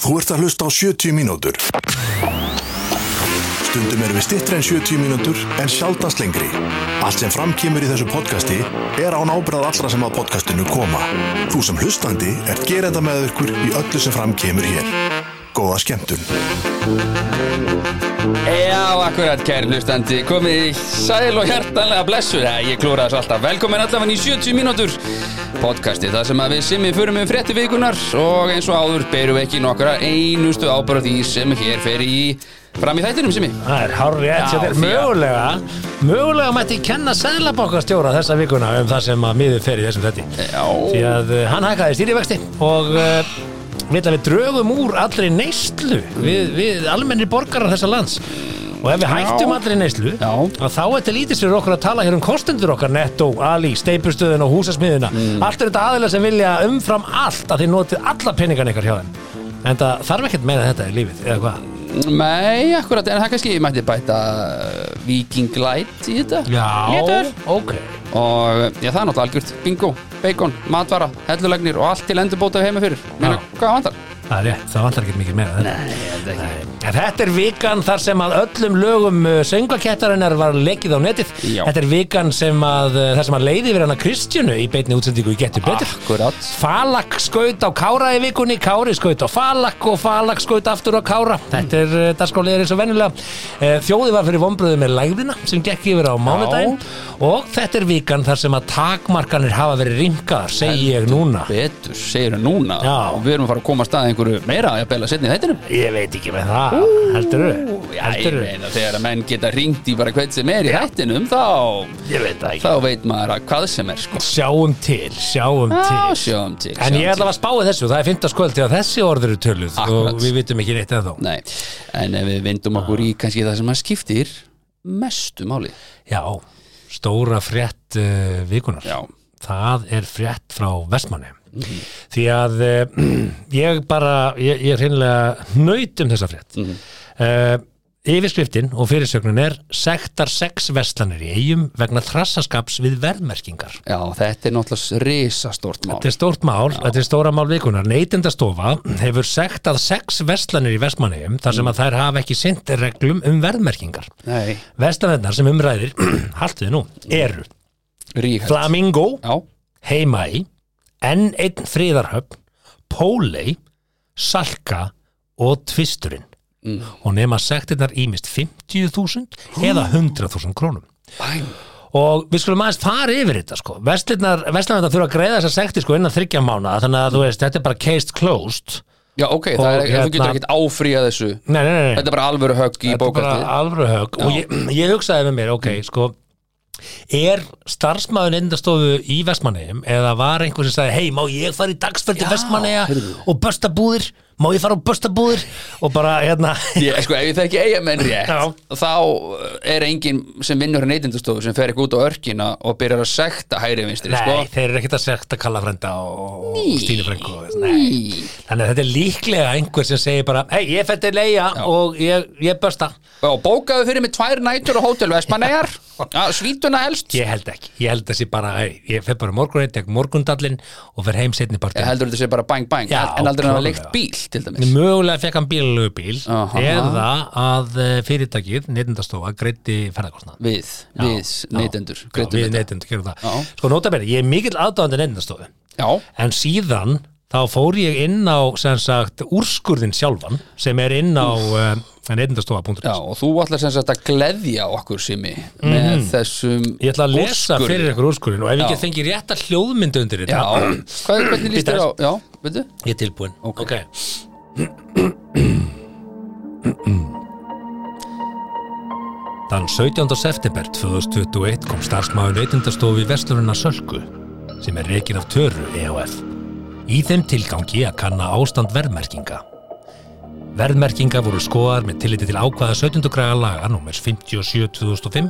Þú ert að hlusta á 70 mínútur. Stundum erum við stittri en 70 mínútur en sjaldast lengri. Allt sem framkýmur í þessu podcasti er án ábyrðað allra sem að podcastinu koma. Þú sem hlustandi ert gerenda með ykkur í öllu sem framkýmur hér. Góða skemmtun. Já, akkurat, kæri hlustandi, komið í sæl og hjartanlega blessu. Það, ég klúra þessu alltaf. Velkomin allavega í 70 mínútur podcastið, það sem að við simmi förum um frétti vikunar og eins og áður berum við ekki nokkra einustu ábara því sem hér fer í fram í þættinum, simmi. Það er hár rétt Já, hjá því þér. að- Mögulega, mögulega mætti kenna sæðlabankastjóra þessa vikuna um það sem að miður fer í þessum þetti. Já. Því að uh, hann hækkaði stýrivexti og uh, við, við drögum úr allri neyslu við, við almennir borgarar þessa lands. Og ef við hættum allri neyslu, Já. að þá er til lítið sér okkur að tala hér um kostendur okkar, Netto, Ali, Steipustöðun og Húsasmiðuna. Mm. Allt er þetta aðilega sem vilja umfram allt að þið notið alla peningan ykkar hjá þeim. En það þarf ekkert meira en þetta í lífið, eða hvað? Nei, akkurat, en það kannski mætti bæta eh, Viking Light í þetta. Léttur. ok. Og uh, já, það er náttúrulega algjört bingo, bacon, matvara, hellulegnir og allt til endurbóta heima fyrir. Meina, Já. hvað vantar? Það er rétt, það vantar ekki mikið meira þetta. Nei, ég held ekki. En þetta er vikan þar sem að öllum lögum söngvakettarinnar var leikið á netið. Já. Þetta er vikan sem að, uh, þar sem að leiði verið hana Kristjánu í beinni útsendingu í Gettu Betur. Akkurat. Falak skaut á Kára í vikunni, Kári skaut á Falak og Falak skaut aftur á Kára. Mm. Þetta er uh, dagskóliðir eins og venjulega. Eh, Þjóði var fyrir vonbröðu með lægðina sem gekk yfir á mánudaginn og þetta er vikan þar sem að takmarkanir hafa verið ringaðar, segi ég núna. betur, segir það núna Já. og við erum að fara að koma að stað einhverju meira að bella setni í þættinum Ég veit ekki með það, heldur þau? Já, ég meina þegar að menn geta ringt í bara hvern sem er í hættinum þá, Ég veit það þá veit maður að hvað sem er sko. Sjáum til, sjáum Já, til sjáum til En ég sjáum ætla að spáði þessu, það er fymtaskvöld þegar þessi orður eru töluð Akkurat. og við vitum ekki neitt eða til. Nei, en ef við vindum okkur í kannski það sem að skiptir mestu máli Já, stóra frétt uh, vikunar Já, Mhm. Það er frétt frá Vestmanni Því að uh, ég bara, ég, ég er hreinlega nöyt um þessa frétt Mhm. mm Yfirskriftin og fyrirsögnun er Sektar sex vestlanir í eigum vegna trassaskaps við verðmerkingar já þetta er náttúrulega risastórt mál Þetta er stórt mál, þetta er stóra mál vikunar. Neytendastofa hefur sagt að sex vestlanir í Vestmanneum þar sem að þær hafa ekki sint reglum um verðmerkingar. Nei, Vestlanirnar sem umræðir, haltu þið nú, eru ríkast Flamingo, Já, Heimaí, N1 Fríðarhöfn, Pólei, Salka og Tvisturinn. Og nema sektirnar ímist 50.000 eða 100.000 krónum. bæm Og við skulum aðeins fara yfir þetta sko Vestlirnar, Vestlirnar þurfa að greiða þessar sekti sko innan þryggja mánu Þannig að þú veist, þetta er bara case closed Já, ok, það Og er, hérna, þú hérna- getur ekkert áfríða þessu Nei, nei, nei, nei. Þetta er bara alvöru högg í Mm. Þetta er bara bókastið alvöru hög Og ég, ég hugsaði með mér, ok, sko Er starfsmaður neyndastóðu í Vestmanneum eða var einhver sem sagði hei, má ég fara í dagsferð til Já, Vestmanneja heyrðu. og börstabúðir, má ég fara á börstabúðir og bara, hérna Ég, sko, ef ég þekki eigamenn rétt Já. þá eh, er enginn sem vinnur í neytindastofu sem fer ekki út á örkina og byrjar að sekta hægri vinstri Nei, sko. þeir eru ekkert að sekta Kalla frenda og, og Stíni frengu og, Nei, Í, Þannig að þetta er líklega einhver sem segir bara Hei, ég fætti leia og ég, ég börsta Já, bókaðu fyrir mig tvær nætur á hótel Vestmannegar Já, Svítuna helst Ég held ekki, ég held þessi bara hey, Ég fer bara morgunreitt, tek morgundallinn og fer heim setni Ég partin heldur þetta sé bara bang bang Já, en aldrei hann hafa klárlega. leikt bíl til dæmis Mögulega fekk hann bílalögu bíl Aha. eða að eh, fyrirtækið neytendastofa greiddi ferðarkostnað við, við neytendur Já, greiddum við þetta. neytendur, gerum það Já. Sko, nota bene, ég er mikill aðdáðandi neytendastofu Já, en síðan þá fór ég inn á sem sagt úrskurðin sjálfan sem er inn á uh, neytendastofa.is já, og þú ætlar sem sagt að gleðja okkur simi Mhm. með þessum Ég ætla að lesa úrskurði. fyrir ykkur úrskurinn og ef ég Já. get fengið rétta hljóðmyndu Já, undir þetta hvað er hvernig líst þér á? Já, veitu? Ég er tilbúin Ok. Þann 17. september 2021 kom starfsmáður neytindastofu í Vestlurina Sölku sem er reikin af Töru EOF í þeim tilgangi að kanna ástand verðmerkinga. Verðmerkinga voru skoðar með tilliti til ákvaða 17. græða laga nr. 57-2005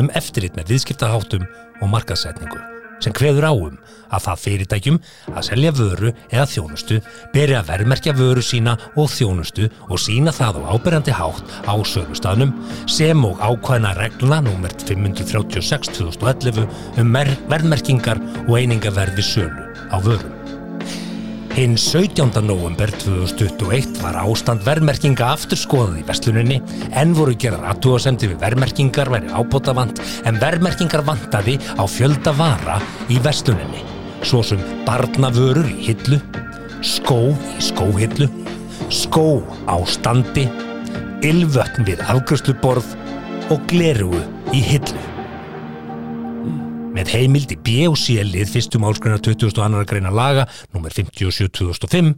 um eftirlit með viðskiptaháttum og markaðsetningu sem kveður áum að það fyrirtækjum að selja vöru eða þjónustu beri að verðmerkja vöru sína og þjónustu og sína það á ábyrjandi hátt á sölustafnum sem og ákvæðna regluna nr. 536-2011 um mer- verðmerkingar og einingaverði sölu á vörum. Hinn 17. november 2021 var ástand verðmerkinga aftur skoðað í vestluninni en voru gerðar aðtúasemdi við verðmerkingar væri ábótavant en verðmerkingar vantaði á fjölda vara í vestluninni svo sem barnavörur í hillu, skó í skóhillu, skó á standi, ylvötn við afgjörsluborð og glerugu í hillu. Með heimildi B og C lið fyrstu málskrinar 22. greina laga nr. 57-2005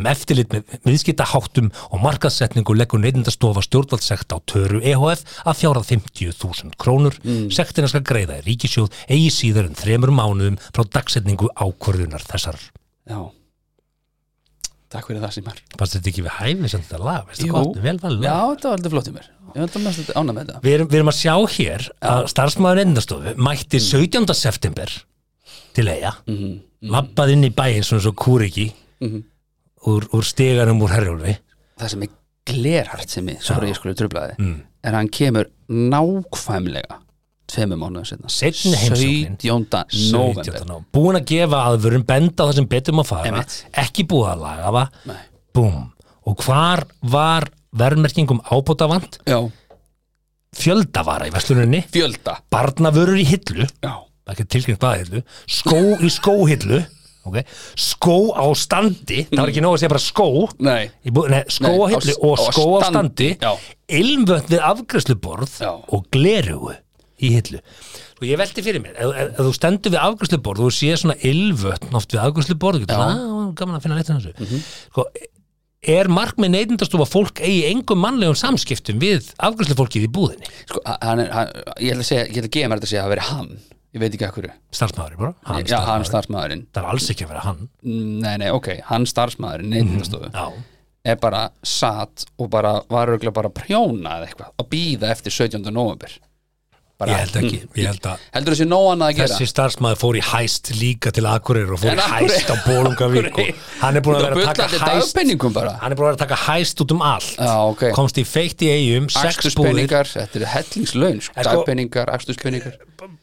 um eftirlit með viðskiptaháttum og markaðsetningu leggur neytindastofa stjórnvaldsekt á töru EHF að fjárað 50.000 krónur. Mm. Sektina skal greiða í ríkisjóð eigi síðar en þremur mánuðum frá dagsetningu ákvörðunar þessar. Já Takk fyrir það Simar Fannst þetta ekki við hæfi sem þetta lag? Veistu Jú. gott, vel valið. Já, þetta var alltaf flott í mér Ég var alltaf mest ánað með þetta Við erum, við erum að sjá hér að starfsmaður endastofu mætti Mm. 17. september til eiga, mm lappað inn í bæinn svona svo kúriki úr, úr steganum úr herjólfi Mhm. Það sem er glerhart sem ég, sorry ég skulle trublaði mm. En hann kemur nákvæmlega Tveimur mánuðum setna Seinni heimsóknin. 17. 17. november nóvember. Búin að gefa aðvörum benda á það sem betur má fara Einmitt. ekki búið að laga það Nei. Búm. og hvar var verðmerkingum ábótavant Já, fjöldavara í versluninni fjölda barnavörur í hillu Já, það er ekki tilkynnt baðhillu skó í skóhillu okay. skó á standi það var ekki nóg að segja bara skó nei Í bú- Nei, skó á Nei, á hillu s- og á skó á standi, standi já. ilmvönd við afgræsluborð Já. og glerugu í hillu og ég velti fyrir mér, ef, ef, ef þú stendur við afgræsluborð og þú sé svona ilmvötn oft við afgræsluborð, getur það gaman að finna leitt þessu Mhm. sko, er markmið neytindastofa fólk eigi engum mannlegum samskiptum við afgræslufólkið í búðinni Sko, hann er, hann, ég ætla að segja, ég ætla að gefa mér þetta að segja að það veri hann Ég veit ekki að hverju starfsmaðurinn bara, hann Já, hann starfsmaðurinn starfsmaðurinn það er alls ekki að vera hann Nei, nei, ok, hann starfsmaðurinn Mhm. neytindastofu já, er bara satt og bara var örgulega bara að prjóna eða eitthvað að býða eftir 17. november bara, hmm. ég held ekki, ég held að heldur þessi nóg annað að gera Þessi starfsmæður fór í hæst líka til Akureyri og fór En í Akureyri- hæst á Bólungavík Akureyri- og hann er búin að Út af vera að taka bullandi hæst dagpeningum bara. hann er búin að vera að taka hæst út um allt Já, ok. komst í feikt í eigum, sex búðir akstuspenningar, þetta er hellingslaun sko, En sko- dagpenningar, akstuspenningar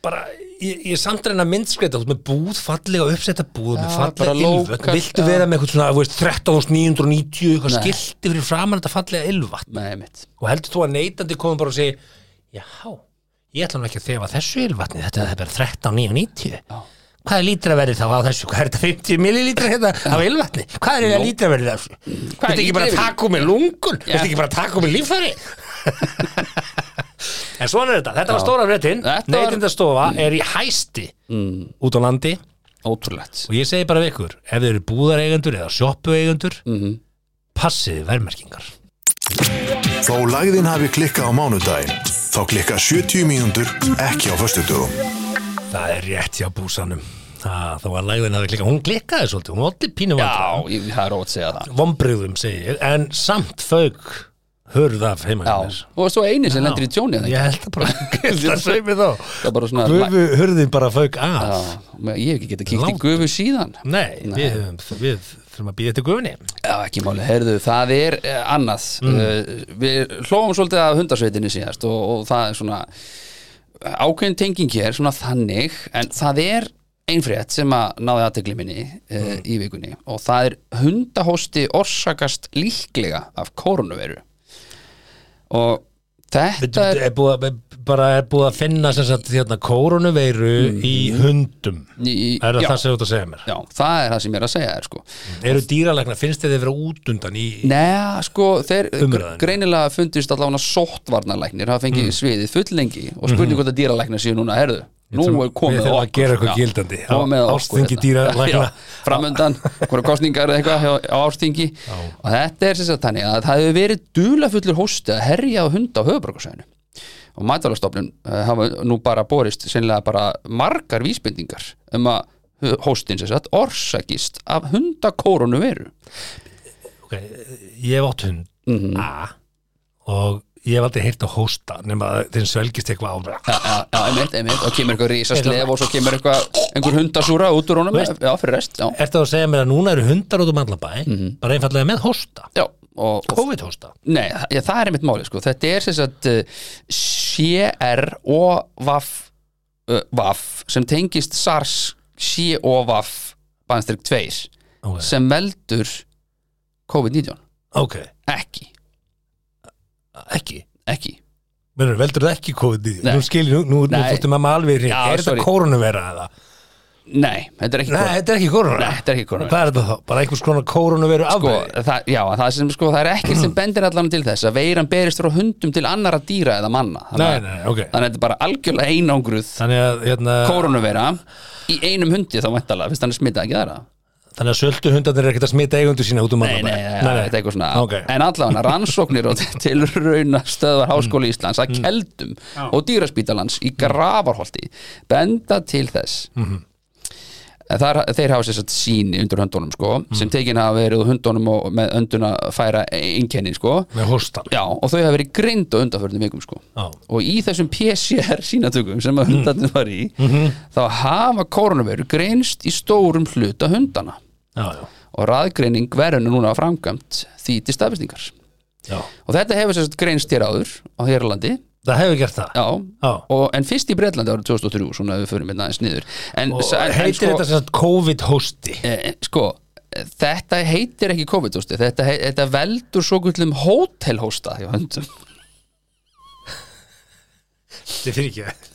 bara, ég, ég er samt reyna að myndskreita út með búð, fallega uppsetta búð með bara fallega ylvat, lókal, viltu já. vera með eitthvað svona þú veist, 13.990, eitthvað Nei. skilti fyrir framan þetta fallega ylvat með mitt og heldur þú að neytandi komum bara og segi já, ég ætla nú ekki að þefa þessu ylvatni, þetta er bara 13.990 Já. hvað er lítraverðið þá á þessu, hvað er þetta 50 millilítra hérna af ylvatni, hvað er þetta Nú. lítraverðið af þessu, þetta er ekki bara lítraverðið? takku með lungun, Já. þetta er ekki bara takku með líffæri en svona er þetta, þetta var stóra fréttin Þetta var- neytindastofa er í hæsti út á landi Hmm, ótrúlegt og ég segi bara við ykkur, ef þið eru búðareigendur eða sjoppueigendur mm Mhm. -hmm. passið vermerkingar Þó lagðin hafi klikkað á mánudaginn, þá klikka 70 mínútur ekki á föstudögum. Það er rétt hjá búsanum Það, það var lægðin að klikka, hún klikkaði svolítið, hún átti pínu já, vandræðum ég, það er ótt að segja það Vombriðum segi ég, en samt fauk hörð af heima hjá mér. já, og svo eini sem lendir í tjóni Ég held það bara, það segir mér þá það er bara svona Gufu hörðin bara fauk af já, ég hef ekki getað kíkt í Langt. gufu síðan Nei, Við, höfum, við þurfum að býða eftir gufunni Já, ekki máli, heyrðu, það er eh, annað Mm. uh, Við hlófum svolítið af hundasveitinni síðast og, og það er svona ákveðin tenging hér, svona þannig en það er einfrétt sem að náði aðtegli minni uh, Mm. í vikunni og það er hundahósti orsakast líklega af koronaviru og þetta er Er búið, að- bara er búið að finna sem sagt hérna koronaveiru í hundum í, Mm. Er það já, það sem þú ert að segja mér? já, það er það sem ég er að segja þér sko Eru dýralækna, finnst þið þið vera út undan í Nei, sko, þeir Umræðan. Mm. greinilega fundist allavega sóttvarnarlæknir hafa fengið sviðið fulllengi og spurning hvort að dýralæknir séu núna, herðu, nú þurfum- er komið Mhm. við þurfum á að okkur. gera eitthvað Já, gildandi. komið Á- með okkur ástþingi hérna. dýralækna. Já, framundan, hverja kostningar eða eitthvað hjá- á ástþingi og þetta er sem sagt þannig að það hefur verið dulafullur hósti að herja á hunda á höfuborgarsæðinu og matalastofnun uh, hafa nú bara borist sennilega bara margar vísbendingar um að hö- hóstinn sem sagt orsakist af hundakórunu veru okay, ég hef átt hund Mhm. A og ég hef aldrei heyrt að hósta nema að þeim svelgist eitthvað á Já, já, einmitt, einmitt, og kemur eitthvað risaslef og svo kemur eitthvað, einhver hundasúra út úr honum, já, fyrir rest, já, Ertu að segja mér að núna eru hundar út um allan bæ Mhm. bara einfallega með hósta, já og, og, COVID hósta nei, já, það er einmitt máli, sko, þetta er sem sagt uh, CR og VAF eh, uh, VAF, sem tengist SARS CR og VAF bannstyrk 2 Ok. sem veldur COVID-19 Ok, ekki, ekki ekki Menur, veldur það ekki COVID-19? Nei. Nú skilir, nú, nú, nú Nei. fóttum mamma alveg hrein. Já, Er sorry. þetta koronavera eða? nei, þetta er ekki Nei, kórónu- þetta er ekki koronavera. Nei, þetta er ekki korónu Hvað er þetta þá? Bara einhvers konar koronaveru sko, afbrigði? það, já, það sem sko, það er ekkert sem bendir allan til þess að veiran berist frá hundum til annara dýra eða manna þannig, Nei, að- nei, ok. þannig að þetta er bara algjörlega einangruð Þannig að, hérna, kórunuveira í einum hundi þá mæntalega, fyrst hann er smitað ekki aðra þannig að söldu hundarnir er ekkert að smita eigundu sína út um nei, mamma. nei, nei, þetta er eitthvað svona Ok. en allavega rannsóknir og til rauna stöðvar Háskóli Íslands að keldum og dýraspítalans í gravarholti benda til þess En Þar, þeir hafa sér satt síni undir höndunum sko, sem tekin hafa verið úr höndunum og með önduna færa einkennin sko. Með hóstan. Já, og þau hafa verið greind á undanförnum vikum sko. Já. og í þessum PCR sínatökum sem Mhm. að hundarnir var í þá hafa koronaviru greinst í stórum hluta hundana Já, já. og raðgreining verður núna framkvæmt því til staðfestingar já. og þetta hefur sérst greinst hér áður á Hérlandi Það hefur gert það. Já, Já. Og, en fyrst í Bretlandi árið 2003 svona ef við förum hérna aðeins niður en, Og sa- en heitir sko, þetta sem sagt COVID-hósti? eh, sko, eh, þetta heitir ekki COVID-hósti þetta, hei- þetta veldur svo gullum hótelhósta hjá höndum Þetta fyrir ekki.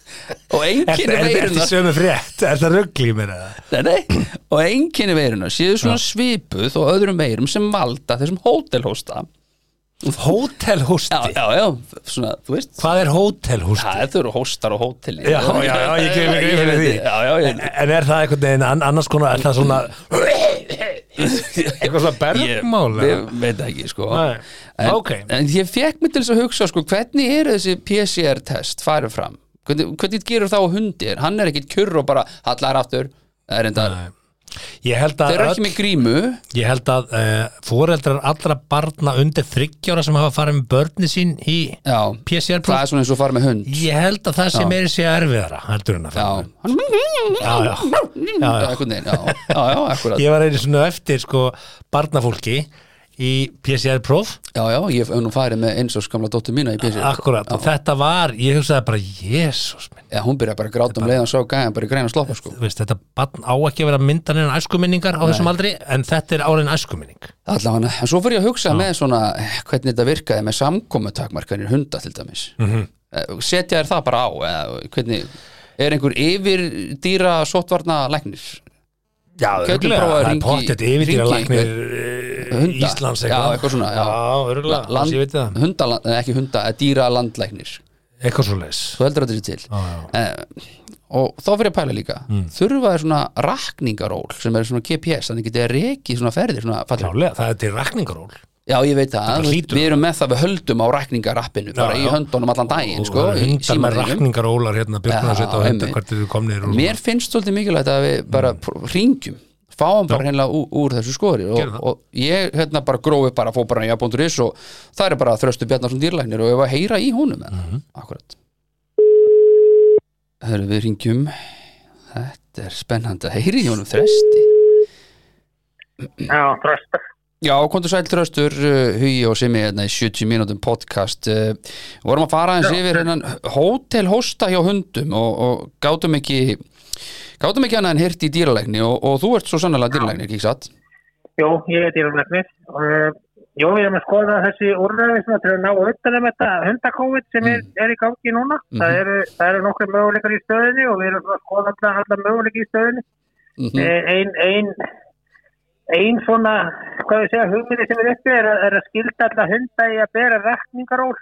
og Er einkenni er- er þetta veirunar í sömu frétt? Er þetta ruggli mér eða? Nei, nei, og einkenni veiruna séu svona svipuð og öðrum veirum sem valda þessum hótelhósta Já, Hótelhósti? já, já, svona, þú veist Hvað er hótelhósti? Það þau eru hóstar og hóteli Já, já, já, ég kemur greið fyrir því Já, já, En, en er það einhvern veginn ann- annars konar, er það svona eitthvað svona ég bergmál eða? Ég veit það ekki, sko Nei. en, Ok. en ég fekk mig til þess að hugsa, sko Hvernig eru þessi PCR-test farið fram? Hvernig, hvernig gerur þá hundir? Hann er ekkit kjurr og bara hallar aftur Það er enda, Ég held þeir að, eru öll, ekki með grímu ég held að uh, fóreldrar allra barna undir þryggjára sem hafa farið með börni sín í Já, það PCR-próf er svona eins og farið með hund Ég held að það sé meiri sé erfiðara heldur en að Já, fara hann já, já. já, já, einhvern veginn, já, já, já, akkurat Ég var einu svona eftir sko barnafólki í PCR-próf já, já, ég hef nú farið með eins og skamla dóttur mína í PC Akkurat, og þetta var, ég hugsaði bara Jésús minn já, hún byrjaði bara að gráta um leiðan svo gæðan bara í græna sloppa sko Þú veist, þetta barn á ekki að vera myndan en æskuminningar á þessum aldri, en þetta er árin æskuminning allavega, en svo fyrir ég að hugsa með svona eh, hvernig þetta virkaði með samkomutakmarkanir hunda til dæmis mm Mhm. -hmm. setja þér það bara á eða, hvernig, er einhver yfir dýra sóttvarna læknir Já, Gætu örugglega, prófað að það er hringi- pottet yfirdýra hringi læknir eh, Hunda. Íslands Já, eitthvað svona, já. Já, örgulega, Land- ég veit það hundaland, eh, ekki hunda, eh, dýra landlæknir Eitthvað svo leis þú heldur þetta sér til já. Eh, og þá fyrir að pæla líka Mm. þurfa er svona rakningaról sem er svona GPS, þannig getið að reki svona ferðir svona fallega, Klálega, það er til rakningaról já ég veit það bara þú- hlýtur við erum með það við höldum á rakningarappinu bara Já, í já. höndunum allan daginn sko, Og í hundar með símanum. rakningarólar hérna Björgunarsveit Já, og hundar einmitt. hvert eru komnir og- mér finnst svolítið mikilvægt að við bara mm. ringjum fáum bara hreinlega úr, úr þessu skori Gerum og, það. og ég hérna bara grófi bara fór bara í jafn.is og það er bara þröstu Bjarnarsson dýrlæknir og ég var að heyra í honum mm -hmm. Mhm. akkurat Hörru, við ringjum þetta er spennandi að heyri í honum þresti Já, tröstur. Já, kontur sæl þröstur uh, Hugi og Simi hérna í 70 mínútum podcast uh, vorum að fara eins yfir hennan hótelhósta hjá hundum og, og gátum ekki gátum ekki annað en hirt í dýralegni og, og þú ert svo sannlega dýralegni, ekki satt? Jú, ég er Eh, dýrumlegnir. Jú, við erum að skoða þessi úrræði svona til að ná auðvitað um þetta hundakóvit sem er, er í gangi núna. það, eru, það eru nokkur möguleikar í stöðinni og við erum svona að skoða alla, alla möguleikar í stöðinni. Mm Mhm. Einn ein, ein svona, hvað við segja, hugmyndi sem er uppi er, að- er að skilda alla hunda í að bera rakningaról,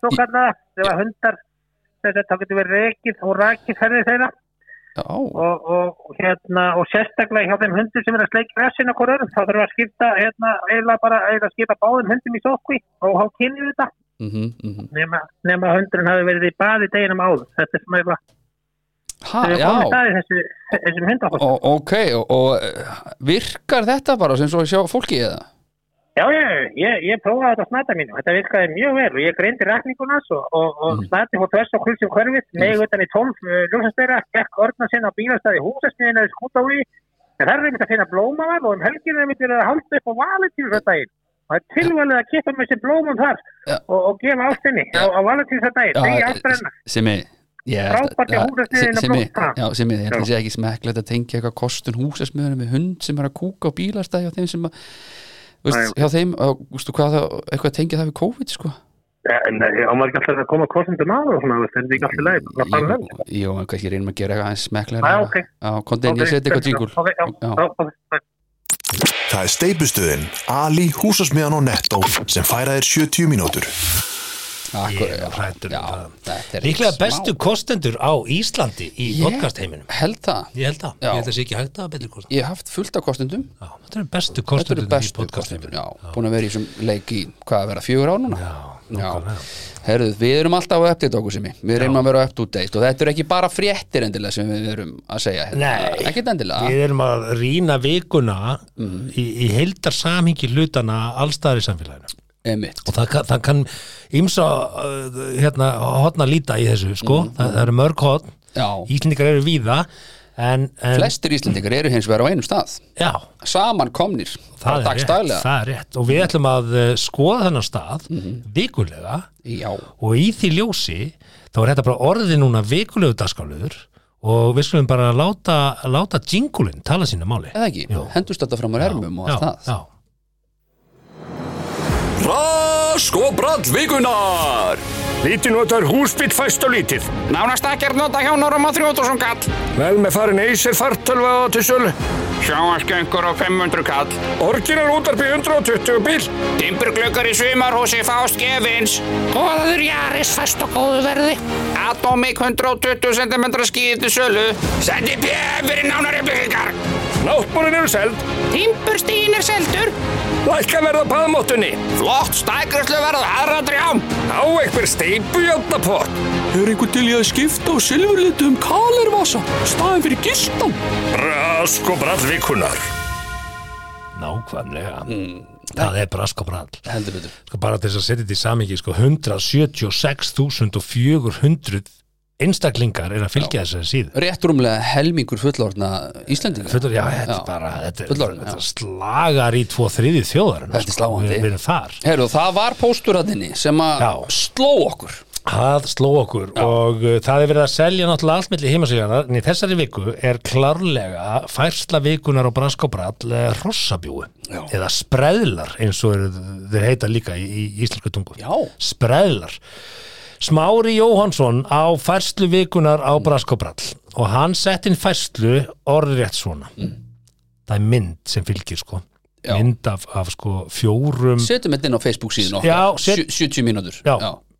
svo kallaða, þegar hundar, þess að það getur verið rekið og rakið ferðið þeirra. Já, og, og, hérna, og sérstaklega hjá þeim hundur sem er að sleikja rassin okkur öðrum, þá þurfum við að skipta hérna, eiginlega bara eiginlega að skipa báðum hundum í sókvi og há kynju þetta mhm, mhm nema, nema að hundurinn hafi verið í baði deginum áður þetta er sem að Ha, við Ah, já, komum það í þessu, þessum hundahótt og, ok og, og uh, virkar þetta bara sem svo að sjá fólki eða? já, já, já, ég, ég prófaði þetta á snata mínu þetta virkaði mjög vel og ég greindi rakningunas og, og, og Mhm. snati fór þess og kulsum hverfið með utan í tólf uh, ljósasteyra gekk orðna sinna á bílastæði húsasmiðina í skútaúi en þar er einmitt að finna blómaðar og um helginu er einmitt verið að halda upp á valentínsdaginn og það er tilvalið að kippa með sér blómum þar Já. og, og gefa ástinni á, á valentínsdaginn, Já, þegar ástrenna Simi, Já, Frábært hjá ja, húsasmiðjunni Simmi, Blómstra. já, Simmi, ég held að Já. sé ekki smekklegt að tengja eitthvað kostun húsasmiðunum við hund sem er að kúka á bílastæði og þeim sem að þú Nei, veist, hjá þeim, og, veistu hvað það, eitthvað að tengja það við COVID, sko En eh, á maður ekki alltaf að koma kostundum að og svona, þetta er þetta ekki alltaf leið, bara fara Jú, vel. jú, en kannski reynum að gera eitthvað aðeins smekklega Já, ok. Já, komdu inn, ég seti eitthvað jingle Ok, já, Já. já, ok. Það er steipustuðin, Ali, húsasmiðan og Netto sem færa þér 70 mínútur. Akkur, Ég er hræddur um já, það. þetta er Líklega smá- bestu kostendur á Íslandi í Ég- yeah. podcastheiminum Held það, Ég held það, Já. ég held það sé ekki hægt að betri kostendur ég hef haft fullt af kostundum Já, Þetta eru bestu Þetta eru kostendur í bestu kostundum, podcastheiminum já, búin að vera í þessum leik í, hvað að vera, fjögur ár núna? nákvæmlega. Herðu, við erum alltaf á update okkur sem við reynum að vera á update date og þetta eru ekki bara fréttir endilega sem við erum að segja hérna. Nei. ekkert endilega Mm. Við erum að rýna vikuna í, í heildar samhengi hlutana allstaðar í samfélaginu einmitt, og það, kann- það kann ímsa uh, hérna, hotna líta í þessu sko, það, það eru mörg hotn Mm, já, Íslendingar eru víða en, en flestir Íslendingar eru hins vegar á einum stað, já, saman komnir bara það er, rétt, dagstælega, Mhm. það er rétt og við ætlum að uh, skoða þennan stað vikulega já, og í því ljósi þá er þetta bara orðið núna vikulegu dagskáluður og við skulum bara láta, láta jingulinn tala sínu máli eða ekki Jú. hendust þetta fram á ermum og já, allt það já, Rask og brall vikunar Lítið notar húsbygg fæst og lítið. Nánast ekkert nota hjá Norma Þrjóðarsson kall. Vel með farin eysir fartölva á til sölu. Sjáasköngur og 500 kall. Orginal útarpi 120 bíl. Timburglöggar í sumarhúsi fást gefins. Hóðaður Jaris fæst og góðu verði. Atomic 120 cm skíði til sölu. Sendi PF fyrir nánari upplýsingar. Náttbúrin eru seld. Timburstíin er seldur. Lækka verða á baðmóttunni. Flott stækrislu verð aðra drjám. Á einhver steipu játnapott. Er einhver til í að skipta á silfurlitum kalervasa staðin fyrir gistan? Rask og brall vikunar. nákvæmlega Mm. það er brask og brall heldur betur, sko bara til þess að setja þetta í samingi sko 176.400 einstaklingar er að fylgja þessari síðu rétt rúmlega helmingur fullorðna Íslendingar Fullor, já, þetta Já. er bara þetta, er- Fullorðin, þetta já. slagar í tvo þriði þjóðar Þetta er sláandi. við, við erum þar Herðu, það var póstur að þinni sem að Já. sló okkur Það sló okkur og uh, það er verið að selja náttúrulega allt milli heimasíðanar en í þessari viku er klárlega færsla vikunar og brask og brall eh, hrossabjúi Já. eða spreðlar eins og eru, þeir heita líka í, í íslensku tungu Já. spreðlar Smári Jóhansson á færslu vikunar á brask og brall og hann sett inn færslu orðrétt svona það er mynd sem fylgir sko Mm. Já. mynd af, af sko fjórum setjum þetta inn á Facebook síðan Já, okkar set- Sjö- 70 mínútur já,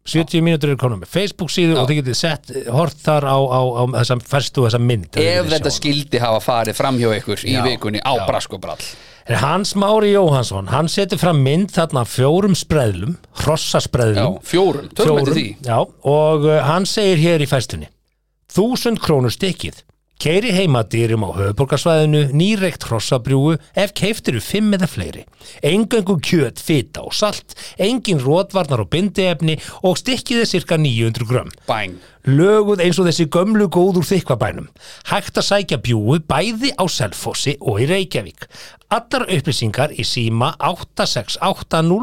70 mínútur eru konum með Facebook síðu og þið getið sett, hort þar á, á, á þessa færstu og þessa mynd ef þetta skildi hafa farið fram hjá ykkur í Já, vikunni á brask og brall En Hans Mári Jóhansson, hann setur fram mynd þarna af fjórum spreðlum já, hrossaspreðlum fjórum, tökum eftir því já, og uh, hann segir hér í fæstunni þúsund krónur stykkið Keiri heimadýrum á höfuborgarsvæðinu, nýreikt hrossabrjúu, ef keiftiru fimm eða fleiri. Engöngu kjöt, fita og salt, engin rótvarnar og bindiefni og stykkið er cirka 900 grömm. bæn, löguð eins og þessi gömlu góð úr þykvabænum. Hægt að sækja bjúu bæði á Selfossi og í Reykjavík. Allar upplýsingar í síma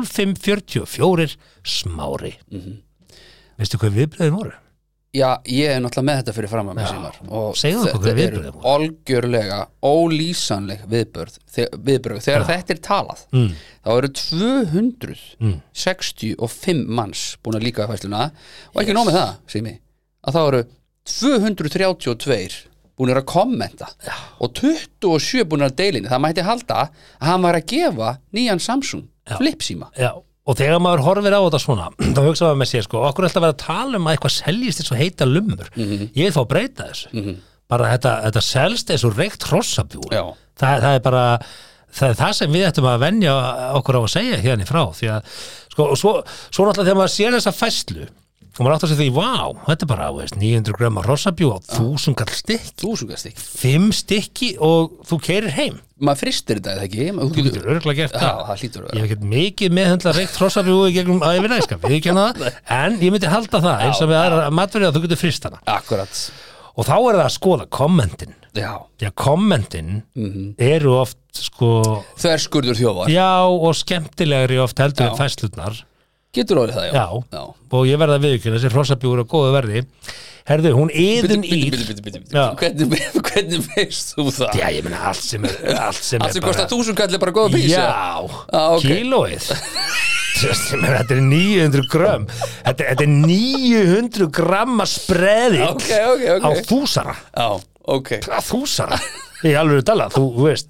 8680544 smári. Veistu hvað viðbröðin voru? já, ég er náttúrulega með þetta fyrir fram að mér símar og segðu okkur þetta hver eru viðbrögðin olgjörlega ólýsanleg viðbörð, viðbörð þegar þetta er talað mm. þá eru Mm. 265 manns búin að líka fæsluna og ekki yes. nómið það, Simi að þá eru 232 búin að kommenta já. og 27 búin að deilinu það mætti halda að hann var að gefa nýjan Samsung flipsíma Já, og þegar maður horfir á þetta svona, þá hugsa maður með sér sko, okkur er alltaf að vera að tala um að eitthvað seljist eins og heita lumur. Ég vil fá að breyta þessu. Bara þetta, þetta selst eins og reykt hrossabjúu. Já. Það, það er bara, það er það sem við ættum að venja okkur á að segja hérna í frá. Því að, sko, og svo, svo náttúrulega þegar maður sér þessa fæslu, og maður áttar sig því, vá, þetta er bara, þú veist, 900 gröma hrossabjúu á 1000 kall stykki, þúsungastík 5 stykki og þú keirir heim. maður fristir þetta eða ekki Maður- Þú getur örgulega gert Já, það. það hlýtur að vera. Ég hef ekkert mikið meðhendla reykt hrossabjúi gegnum að yfir næskap, ég kenna það, en ég myndi halda það eins og við aðra matverið að þú getur frist hana. Akkurat, Og þá er það að skoða kommentin. já Því að kommentin Mhm. eru oft sko, Þverskurður þjófar, já og skemmtilegri oft heldur Já. en fæslutnar. getur orðið það já Já. og ég verða viðkynna þessi hrossabjúi eru á góðu verði. herðu, hún yðin Bíddu, ír bíddu, bíddu, bíddu, bíddu. Já. Hvernig, hvernig veist þú það? Já, ég meina allt sem er allt sem Allt er sem bara kostar þúsund kallir bara góða písa Já, Ah, ok. kílóið Þessi, ég meina, Þetta er 900 grömm Þetta, þetta er 900 gramma spreðing Ok, ok, ok. á þúsara Já, ok að þúsara Ég alveg er talað, þú þú veist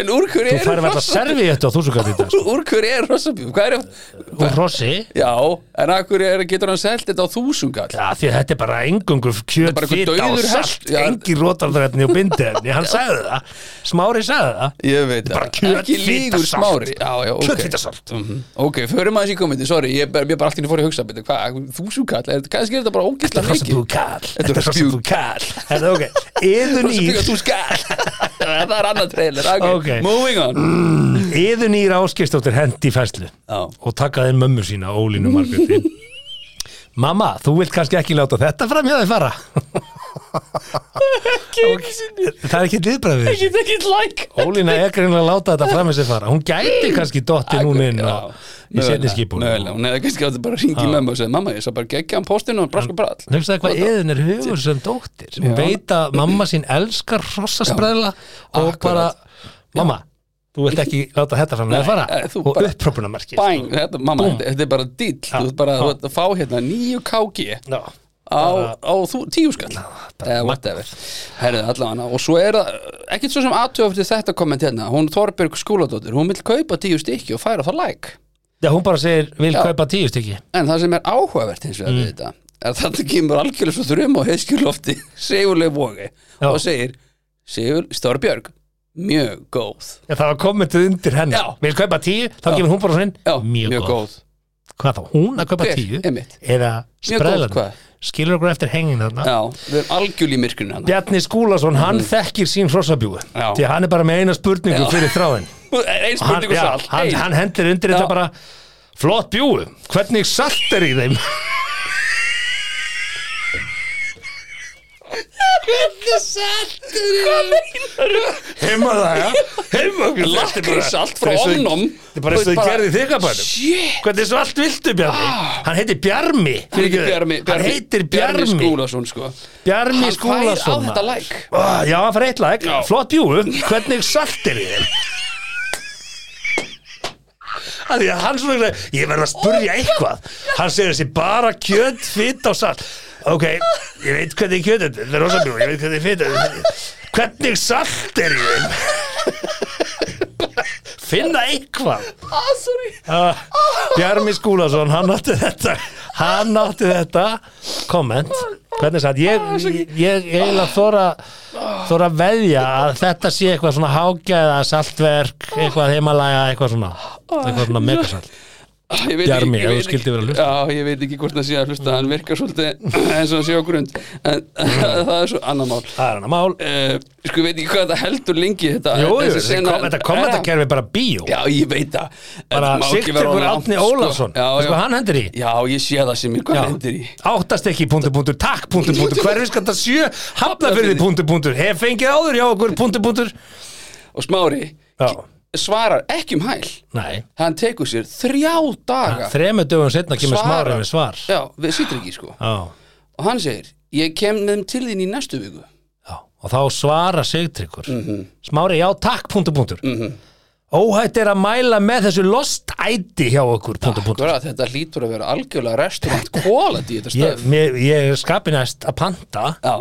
En úr hverju Þú eru færir alltaf hrossabjúg? servi þetta á þúsugall í dag sko. Úr hverju er hrossabjúg? Hvað er Og hrossi Já, en að hverju er, getur hann selt þetta á þúsund kall? Já, því að þetta er bara engungu kjöt, bara einhver fita og dauður salt hest, já. Engi rótardrætni og bindefni Hann sagði það, Smári sagði það Ég veit Bara það, ekki kjötfita líður salt. smári Já, já, ok Kjötfita salt. Mhm. Ok, förum aðeins í komandi, sorry Ég er bara allt í henni fór í að hugsa byrja, Hvað, þúsund kall? Er- Kannski er þetta bara Þetta ógislega er rosa mikið búkall Þetta Þetta er er rosa bjúg. búkall Þetta er ok, yðun Hrossabjúg ír á þúsund kall Það er annar trailer, ok, Ok. moving on Yðun ír áskistóttir hendi í fæslu Já. Og takaði mömmu sína, Ólínu Margréti Mamma, þú vilt kannski ekki láta þetta fram hjá þig fara Það er ekki liðbræðið þessu Ég ekki like Ólína er greinlega að láta þetta fram hjá sig fara Hún gæti kannski dotti núna inn á- í setni skipun Mögulega, hún hefði kannski átt að bara ringi í mömmu og segja Mamma, ég sá bara geggja hann postinu og brask og brall Hugsaði hvað eðun er hugur sem dóttir Hún Já. veit að mamma sín elskar hrossasbræðla og Akkurat. bara Mamma, þú vilt ekki láta þetta fram að fara eh, þú og sko. bara- upprópunamarki Bang, þetta, mamma, þetta- þetta er bara dill Þú ert bara þú ert að fá hérna 9 KG Já, á, á þú, tíu skall eða whatever Herðu, allavega, og svo er það ekkert svo sem aðtöf til þetta komment hérna hún Þorbjörg Skúladóttir, hún vil kaupa tíu stykki og færa það like Já, hún bara segir, vil Já. kaupa tíu stykki en það sem er áhugavert hins Mm. vegar við þetta er þetta kemur algjörlega svo þrjum á heiskjulofti segjuleg vogi Já. og segir Sigur Þorbjörg, mjög góð Já, það var kommentið undir henni Já. Vil kaupa tíu, þá kemur hún bara svona Já, inn Mjög góð Hvað þá, hún að kaupa Hver? tíu Einmitt. eða Mjög góð, spræðlan hvað? Skilur okkur eftir hengin þarna Já, við erum algjörlega í myrkrinu hann Bjarni Skúlason, hann þekkir sín hrossabjúi Já. Því að hann er bara með eina spurningu Já. fyrir þráðin Einn hann, spurning og já, salt hann, ein. hann hendir undir Já. þetta bara flott bjúu, hvernig salt er í þeim heima það, já heima okkur þetta er bara- Lakkrísalt frá þetta er eins og- Omnum. þetta er bara eins og þið Bara- gerði þig að bænum Shit. hvernig svalt viltu Bjarni hann heitir Bjarmi Hann heitir fyrirgefðu. Bjarmi, hann Bjarmi, heitir Bjarmi Skúlason sko. Bjarmi Hann fær á Skúlason þetta læk Ah, já, hann fær eitt lag, Já. flott bjúu hvernig salt er í þeim Af Því að hann svona, einhvern veginn, ég verð að spurja eitthvað Hann segir þessi bara kjöt, fitt og salt Ok, ég veit hvernig kjöt er Þetta er rosa bjúi, ég veit hvernig fitt er Hvernig salt er í þeim Finna eitthvað Ah, sorry uh, Bjarmi Skúlason, hann átti þetta Hann átti þetta Komment Hvernig satt, ég, ég, ég eiginlega þóra þóra að veðja að þetta sé eitthvað svona hágæða, saltverk eitthvað heimalæga, eitthvað svona eitthvað svona megasalt Ah, ég veit Bjarmi, ekki- ég ef þú veit ekki- skildir vera að hlusta. Já, ég veit ekki hvort það sé að hlusta Hann virkar svolítið eins og hann sé á grund En það er svo annar mál Það er hana mál uh, Sko, ég veit ekki hvað þetta heldur lengi Þetta, Jú, jú, þessi þessi sena- kom- þetta kommentakerfi er bara bíó Já, ég veit það En bara það má ekki vera Sigtryggur of langt, Átni sko. Ólafsson Já, já. Veistu hvað hann hendur í Já, ég sé það sem ég, hvað hendur í áttast ekki, punktur, punktur, takk, punktur, punktur hverfiskata sjö, hafnafyrði, Hafnarfirði. punktur, punktur hef fengið áður hjá okkur, punktur, punktur Og Smári Já, svarar ekki um hæl nei Hann tekur sér þrjá daga Þremur dögum setna kemur Svarar. smára með svar Já, við sýttir ekki, sko Já, Og hann segir, ég kem með þeim til þín í næstu viku já Og þá svara sigtryggur Mhm. Smári, já, takk, punktur, punktur Óhætt er að mæla með þessu lostæti hjá okkur, punktur, punktur Akkurat, Sko, þetta hlýtur að vera algjörlega restaurant quality í þetta Ég, stöð mér, ég er skapinæst að panta Já,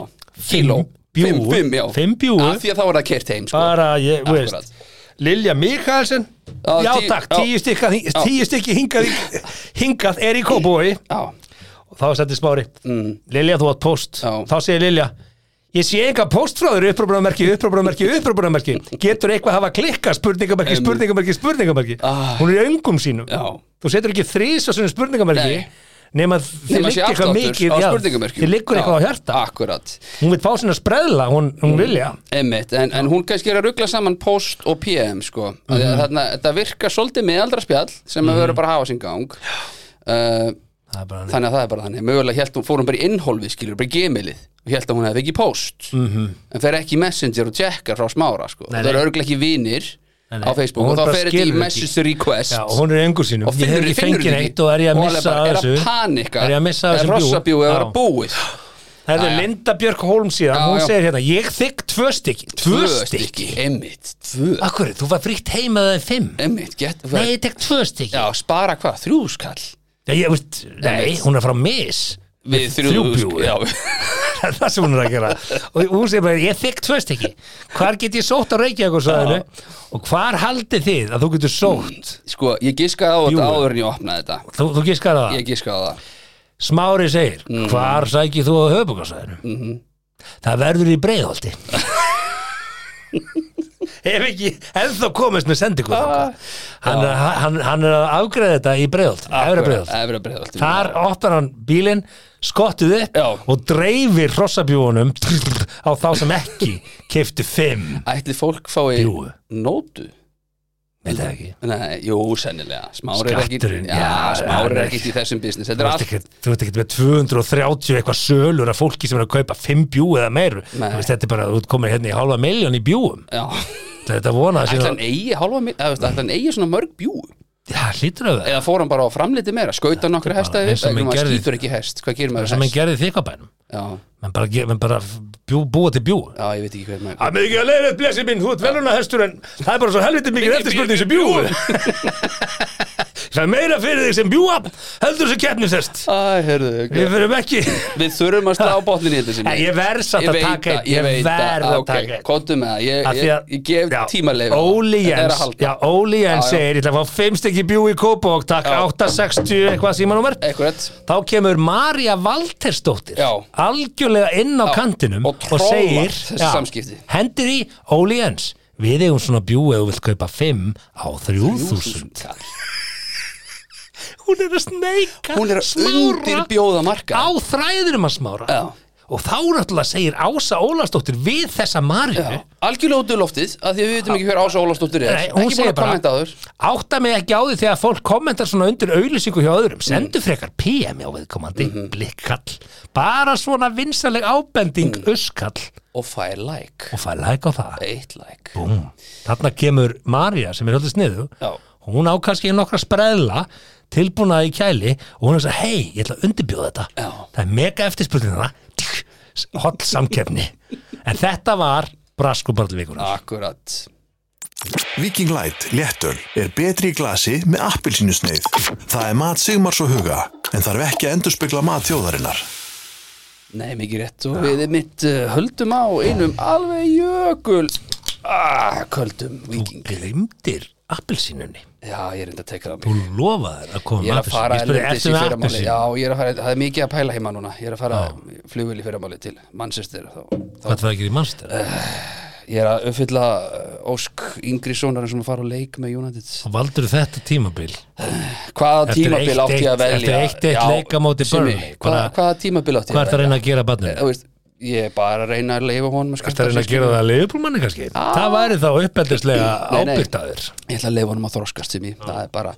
kíló bjúgu. Fimm, fimm, já Fimm bjúgu. Af Því að þá er það kert heim, sko bara, ég, þú Akkurat. veist Lilja Mikalsen Já, Já, tí- takk, já. tíu, stikka, tíu stykki hingað, í- hingað er í kóbúi Já, og þá setti smári Lilja þú átt post, Mm. Já. þá segir Lilja ég sé eitthvað post frá þér upprópunamerki, upprópunamerki, upprópunamerki getur eitthvað hafa klikka spurningamerki, spurningamerki, spurningamerki Ah. hún er í öngum sínum já þú setur ekki þrís og svona spurningamerki Nei. nema þið Nema sé liggur eitthvað afsláttur mikið á já, spurningamerkjum. þið Já, liggur Mm. eitthvað á hjarta Akkurat, hún vil fá sinna spreðla, hún, hún Lilja emmitt en, en hún kannski er að ruggla saman post og PM sko, mm Mhm. -hmm. þarna, þetta virkar svolítið miðaldra spjall sem að vera bara að hafa sinn gang uh, það er bara þannig að það er bara þannig mögulega hélt hún, fór hún bara í innhólfið skilur, bara í gemilið og hélt að hún hefði ekki post -hmm. en fer ekki í messenger og tjekkar frá smára sko. Mhm. Nei, það eru nei. örglega ekki vinir Nei, nei. á Facebook Og og, hún þá bara fer þetta í skilur message request Já, og hún er í engu sínum og Ég hef finnur, ekki finnur fengið ekki neitt og er ég að Og hún missa bara, að er þessu að panika Er ég að missa að þessu rossabjúi að vera Já. búið Það er Jæja. Linda Björk Holm síðan, Já, hún já. segir hérna Ég þykk tvö stykki, tvö, stykki Emmitt, tvö Akkur, þú var frítt heima þegar fimm Emmitt, get Nei, ég tek tvö stykki Já, spara hvað, þrjú skall Nei, ég, veist, nei hún er frá mis Við þrjú þrjú bjúgu. Já, Það er það sem hún er að gera Og hún segir bara, ég þykk tvö stykki Hvar get ég sótt á Reykjavík og Og hvar haldið þið að þú getur sótt sko, ég giskaði á þetta Bjúgu. áður en ég opnaði þetta Þú, þú gískar það Ég giskaði á það Smári segir, hvar sækir þú á höfbúkarsæðinu? Það verður í breiðholti. Ef ekki, ennþá komist með sendingu þangað. Hann, er- hann, hann er að afgreða þetta í breiðholti, efra breiðholti. Efra breiðholt Þar opnar hann bílinn, skottið upp Já. og dreifir hrossabjúunum á þá sem ekki keiftu fimm. Ætli fólk fái Bjúgu. nótu Veit það ekki? Nei, jú, sennilega Smári er ekki Skatturinn, Já, já, smári hann er er- ekki í þessum business Þú Þetta er veist allt ekkert- þú veist ekkert með 230 eitthvað sölur af fólki sem er að kaupa 5 bjú eða meiru Nei. Þú veist, þetta er bara að þú komir hérna í halva miljón í bjúum Já, þetta vona að ætla hann síðan eigi hálfa mil eða, þú veist, Ætla hann eigi svona mörg bjú það hlýtur af það Eða fór hann bara á framliti meira Skauta nokkra bara hesta eins og menn Þegar maður gerði- skýtur ekki hest Hvað gerir maður sem hann hest? gerði í þykabænum Já, menn bara, ge- menn bara bjú, búa til bjú já, ég veit ekki hvað maður Það með ekki að leiða eitt blessi mín, þú ert veluna hestur en það er bara svo helviti mikið eftirspurning sem bjú Það er meira fyrir þig sem bjúa heldur sem keppnishest Æ, heyrðu, ok. Við fyrir ekki Við þurfum að slá botnin í þetta sem Nei, hérna, ég verð samt að taka einn, ég verð að taka einn. Kóttu með það, ég, Af því ég, að- ég gef já, tímaleifu Óli Þetta er Jens, að halda já, Óli Já, Jens já. segir, ég ætla að fá fimm stykki bjú í kópa og takk Já. 860 eitthvað símanúmer Akkurat. þá kemur Marja Valtersdóttir Já. algjörlega inn á Já. kantinum Og trollar segir, þessi já, samskipti. hendir í Óli Jens við eigum svona bjú eða þú vilt kaupa 5 á 3000 kall. hún er að sneika Hún er að Smára undirbjóða marka á þræðinum að smára Já. og þá náttúrulega segir Ása Ólastóttir við þessa Marju Já, Algjörlega út úr loftið að því að við veitum ekki hver Ása Ólafsdóttir er Nei, hún Ekki búin segir að bara- kommenta áður átta mig ekki á því þegar fólk kommentar svona undir auðlýsingu hjá öðrum Mm. sendu frekar PM á viðkomandi Mhm. blikkall, bara svona vinsaleg ábending Mm. uskall Og fær like og fæ like á það Eitt like Búm. þarna kemur Marja sem er höldið sniðu Já. hún á kannski nokkra spreðla tilbúna í kæli og hún er að hei, ég ætla að undirbjóða þetta Já. það er mega eftirspurning þarna hot samkefni en þetta var braskubarlvíkunar Akkurat Viking Light léttöl er betri í glasi með appilsínusneið. Það er mat Sigmars og Huga, en þarf ekki að endurspegla mat þjóðarinnar. Nei, mikið rétt og við mitt uh, höldum á einum alveg jökul ah, Köldum viking glimtir appelsínunni Já, ég er enda að teka það Þú mig lofaði þér að koma Ég er að fara Ég spurði, erlendis í ertu með fyrramáli appelsín? Já, ég er að fara, það er mikið að pæla heima núna Ég er að fara flugvel í fyrramáli til Manchester þá, þá, Eh. Hvað það að gera í mannstur? Ég er að uppfylla uh, Ósk yngri sonarinn sem að fara á leik með United Og valdur þetta tímabil Hvaða Eftir tímabil eitt- átti ég að eitt- velja? eftir eitt- eitt Já, leik á móti Simmi, Burnley. Hvaða Bara- hvaða tímabil átti Hvað er það að reyna að gera barninu? Þú veist, ég er bara að reyna að leifa honum Það er að reyna að gera það að leifbúlmanni kannski Það væri þá uppeldislega Nei, nei. ábyrgt að þér Ég ætla að leifa honum að þroskast sem ég Það er bara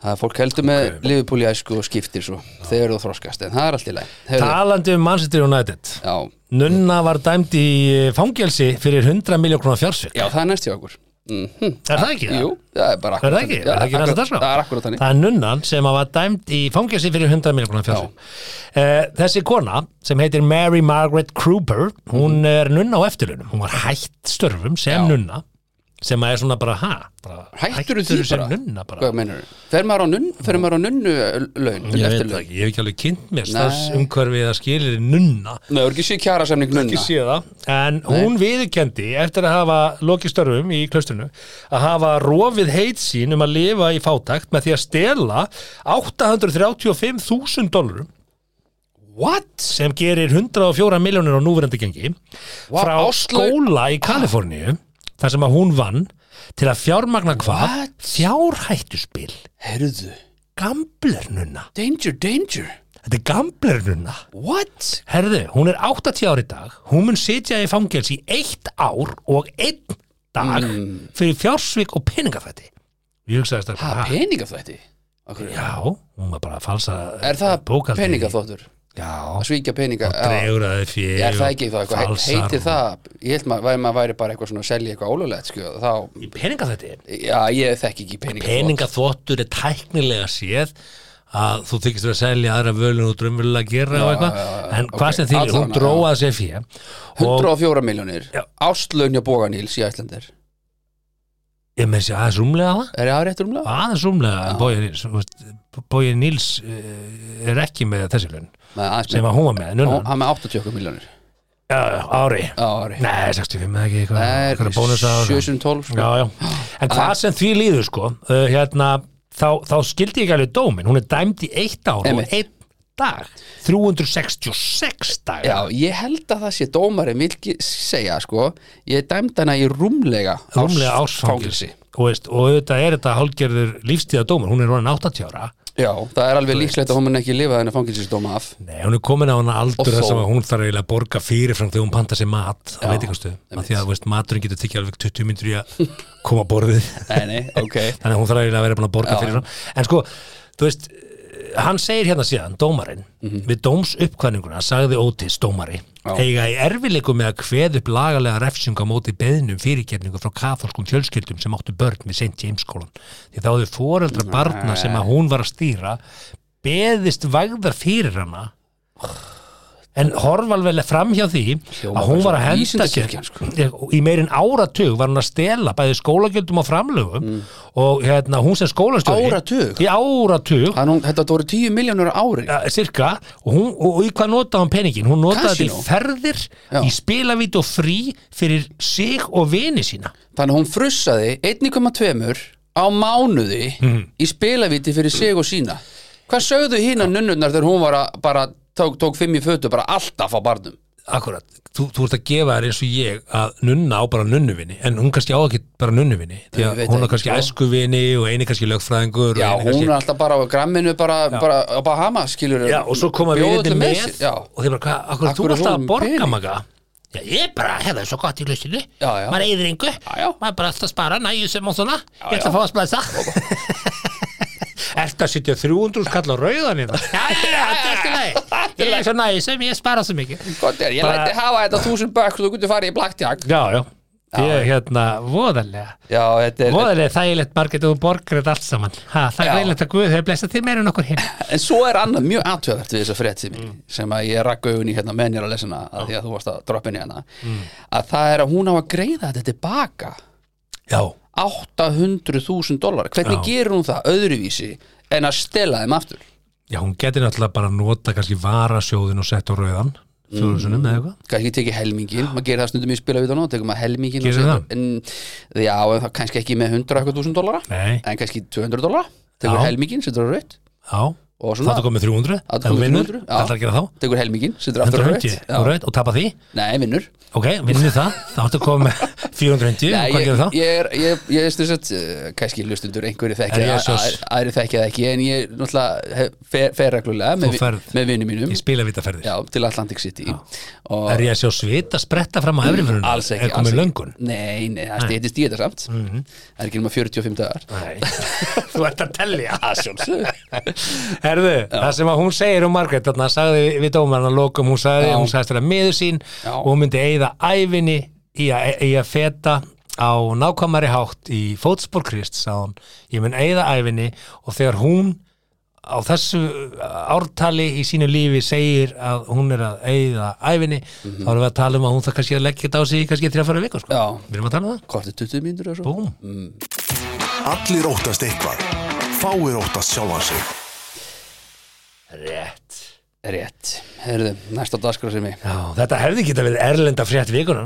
Það er fólk heldur með okay. í æsku og skiptir svo þegar þú þroskast, en það er allt í læg Talandi um Manchester United Já, Nunna var dæmd í fangelsi fyrir 100 miljón krónar fjársvik já, það er næst hjá okkur mm Er það ekki? Jú, það er bara Er akkurat það ekki? þannig. Er það Já, ekki næsta akkurat- dagskrá? Það er akkurat þannig Það er nunnan sem að var dæmd í fangelsi fyrir 100 miljonar fjársvik. Uh, þessi kona sem heitir Mary Margaret Kruber, hún er nunna á eftirlunum. Hún var hætt störfum sem Mhm. Já. nunna sem að er svona bara, ha? Bara, Hættur þú sem nunna bara? Hvað meinar þú? Fer maður á nunn- fer maður á nunnu uh, laun? Ég veit eftirlaun? það ekki, ég hef ekki alveg kynnt mér Nei. starfsumhverfið að skilir nunna Nei, þú er ekki sé kjara semning nunna ekki sé það, en hún viðurkendi eftir að hafa lokið störfum í klaustrinu að hafa rofið heit sín um að lifa í fátækt með því að stela 835.000 dólarum What? sem gerir 104 miljónir á núverandi gengi Wow, frá Áslaug- Ah. skóla í Kaliforníu þar sem að hún vann til að fjármagna hvað? What? Fjárhættuspil Herðu Gamblernuna Danger, danger Þetta er gamblernuna What? Herðu, hún er 80 ár í dag hún mun sitja í fangels í eitt ár og einn dag fyrir fjársvík og peningafætti Ég hugsaði þess Hmm. Ha, að peningaflætti? Akkur- Já, hún var bara að falsa eh, Er það bókhaldið. peningaflottur? Já, Að svíkja peninga Já. dregur að þið fyrir Er það ekki það eitthvað? Heitir það? Ég held maður væri, maður væri bara eitthvað svona að selja eitthvað ólulegt sko, þá, Peningafætti Já, ég þekki ekki peningaflott peningaþvottur er tæknilega séð að þú þykist verið að selja aðra völun og drömmurlega gera og eitthvað en hvað ok. sem þýr, hún Allavega, dróða sér fjö 104 miljónir Já. Áslaun hjá Bóganýls í Æslandir ég með sér aðeins rúmlega það Er það rétt rúmlega? aðeins rúmlega en Bogi Níls, þú veist, Bogi Níls eh, er ekki með þessi laun Nei, aðeins sem meira. að hún var með Hún- núna, Hann með 80 miljónir já, já, ári á ári Nei, 65 eða ekki eitthvað Það er einhverja bónusa og- 712 sko. Já, já. En Ah. hvað sem því líður sko uh, hérna, þá, þá skildi ég ekki alveg dómin hún er dæmd í eitt ár Einmitt. og einn dag 366 dag Já, ég held að það sé dómarinn vil ekki segja sko Ég dæmd hana í rúmlega rúmlega ársfangelsi. ásfangilsi og, veist, og auðvitað er þetta hálgerður lífstíða dómur hún er orðin 80 ára Já, það er alveg líklegt að hún mun ekki lifa þennan fangilsisdóma af Nei, hún er komin á hana aldur Og þess að þó. hún þarf eiginlega að borga fyrirfram þegar hún panta sér mat á Já, veitingastöðum, af einmitt. því að veist, maturinn getur tekið alveg 20 myndur í að koma að borðið Nei, nei, ok þannig að hún þarf eiginlega að vera búin að borga Já. fyrir hann en sko, þú veist hann segir hérna síðan, dómarinn við dóms uppkvæðninguna sagði Ótis dómari Mhm. Já. eiga í erfileikum með að kveð upp lagalega refsinga á móti beðnum fyrirgerningu frá katholskum fjölskyldum sem áttu börn við sent í heimskólan því þá hefur foreldra barna sem að hún var að stýra beðist vægðar fyrir hana en horf alveg framhjá því Hljómar að hún var bara svona að henda sér vísindakirkjan, sko. Ég- í meirinn áratug var hún að stela bæði skólagjöldum og framlögum og hérna, hún sem skólastjóri Áratug? í áratug Þannig, þetta voru 10 miljónur ári ja, cirka og, hún, og, og í hvað notaði hún peningin hún notaði þetta Casino? í ferðir Já. í spilavíti og frí fyrir sig og vini sína Þannig að hún frussaði 1,2 á mánuði Mhm. í spilavíti fyrir sig og sína Hvað sögðu hína nunnurnar þegar hún var að bara tók, tók fimm í fötu bara alltaf á barnum Akkurat, þú, þú ert að gefa þér eins og ég að nunna á bara nunnuvinni en hún kannski á ekki bara nunnuvinni því Ég að veit ekki, hún er kannski sko. æskuvini og eini kannski lögfræðingur Já, og eini hún er alltaf bara á gramminu bara, bara á Bahama skilur Já, og svo koma bjóða vinirnir öllum með sér. Já, og þeir bara, hvað, akkur Akkur þú er alltaf að hún borga pening? maga Já, ég bara hefði svo gott í lausinu Já, já. maður eigður engu, já. maður bara alltaf að spara næju sem og svona, ég ætla að fá að splæsa Ertu að sitja 300 skall á rauðan í það? Já, já, já, þetta er allt í lagi. Ég er svo næju sem, ég spara svo mikið gott er, ég Bara- læti hafa þetta þúsund bökk þú getur farið í blakktjag Já, já, ég er hérna voðalega Já, þetta er, voðalega þægilegt margir þú borgar þetta allt saman ha, það Já. er reyðilegt að Guð hefur blessað þig meira en okkur hinn en svo er annað mjög aðtöðvert við þessa frétti mín Mm. sem að ég rakka augun í hérna menn ég er að lesa hana að því að þú varst að droppa inn í hana Mm. að það er að hún á að greiða þetta tilbaka Já, 800.000 dólar hvernig Já. gerir hún það öðruvísi en að stela þeim aftur Já, hún geti náttúrulega bara nota kannski varasjóðin og sett á rauðan fjóðusunum eða eitthvað kannski tekið helmingin, maður gerir það stundum í spila við það nú, tekur maður helmingin og Gerir setur- það? en, já, en það kannski ekki með 100 eitthvað þúsund dólara, Nei. en kannski 200 dólara tekur Já. helmingin, setur á rautt Já, og þá svona, ertu komið 300 Þá ertu ef þú komið vinnur, 300, já. ætlar að gera þá tekur helmingin setur aftur á 150 rautt á Já. rauð og tapa því nei, vinnur Ok, vinnur það, þá ertu komið 450 Nei, og hvað ég, gerir þá? ég er, ég, ég er styrst uh, kannski hlustundur einhverju Er þekkja ég að- sos? að- aðri þekkja það ekki, en ég náttúrulega hef- fer, fer reglulega Þú með, vi- ferð. með vinnum mínum Ég spila vitaferðir já, til Atlantic City og Er ég að sjá svita spretta fram á efriförunum? alls ekki, Er alls komið ekki. löngun? Mhm. nei, nei, það stýttist í þetta samt það er ekki nema 45 dagar Nei, þú ert að tellja að sjálfsögðu Herðu, það sem að hún segir um Margrét þarna sagði við dómarna lokum hún sagði, Já. hún sagðist vera miður sín Já. og hún myndi eigða ævinni í að, í að feta á nákvæmari hátt í fótspor Krist sagði hún, ég mun eigða ævinni og þegar hún á þessu ártali í sínu lífi segir að hún er að eigða ævinni, þá erum við að tala um að hún það kannski að leggja þetta á sig í kannski þrjá fara viku sko. Já. við erum að tala um það, kortið 20 mínútur og svo búm Allir óttast eitthvað. Fáir óttast sjálfan sig. Rétt rétt, herðu, næsta dagskrá sem ég Já, þetta hefði geta verið erlenda frétt vikunar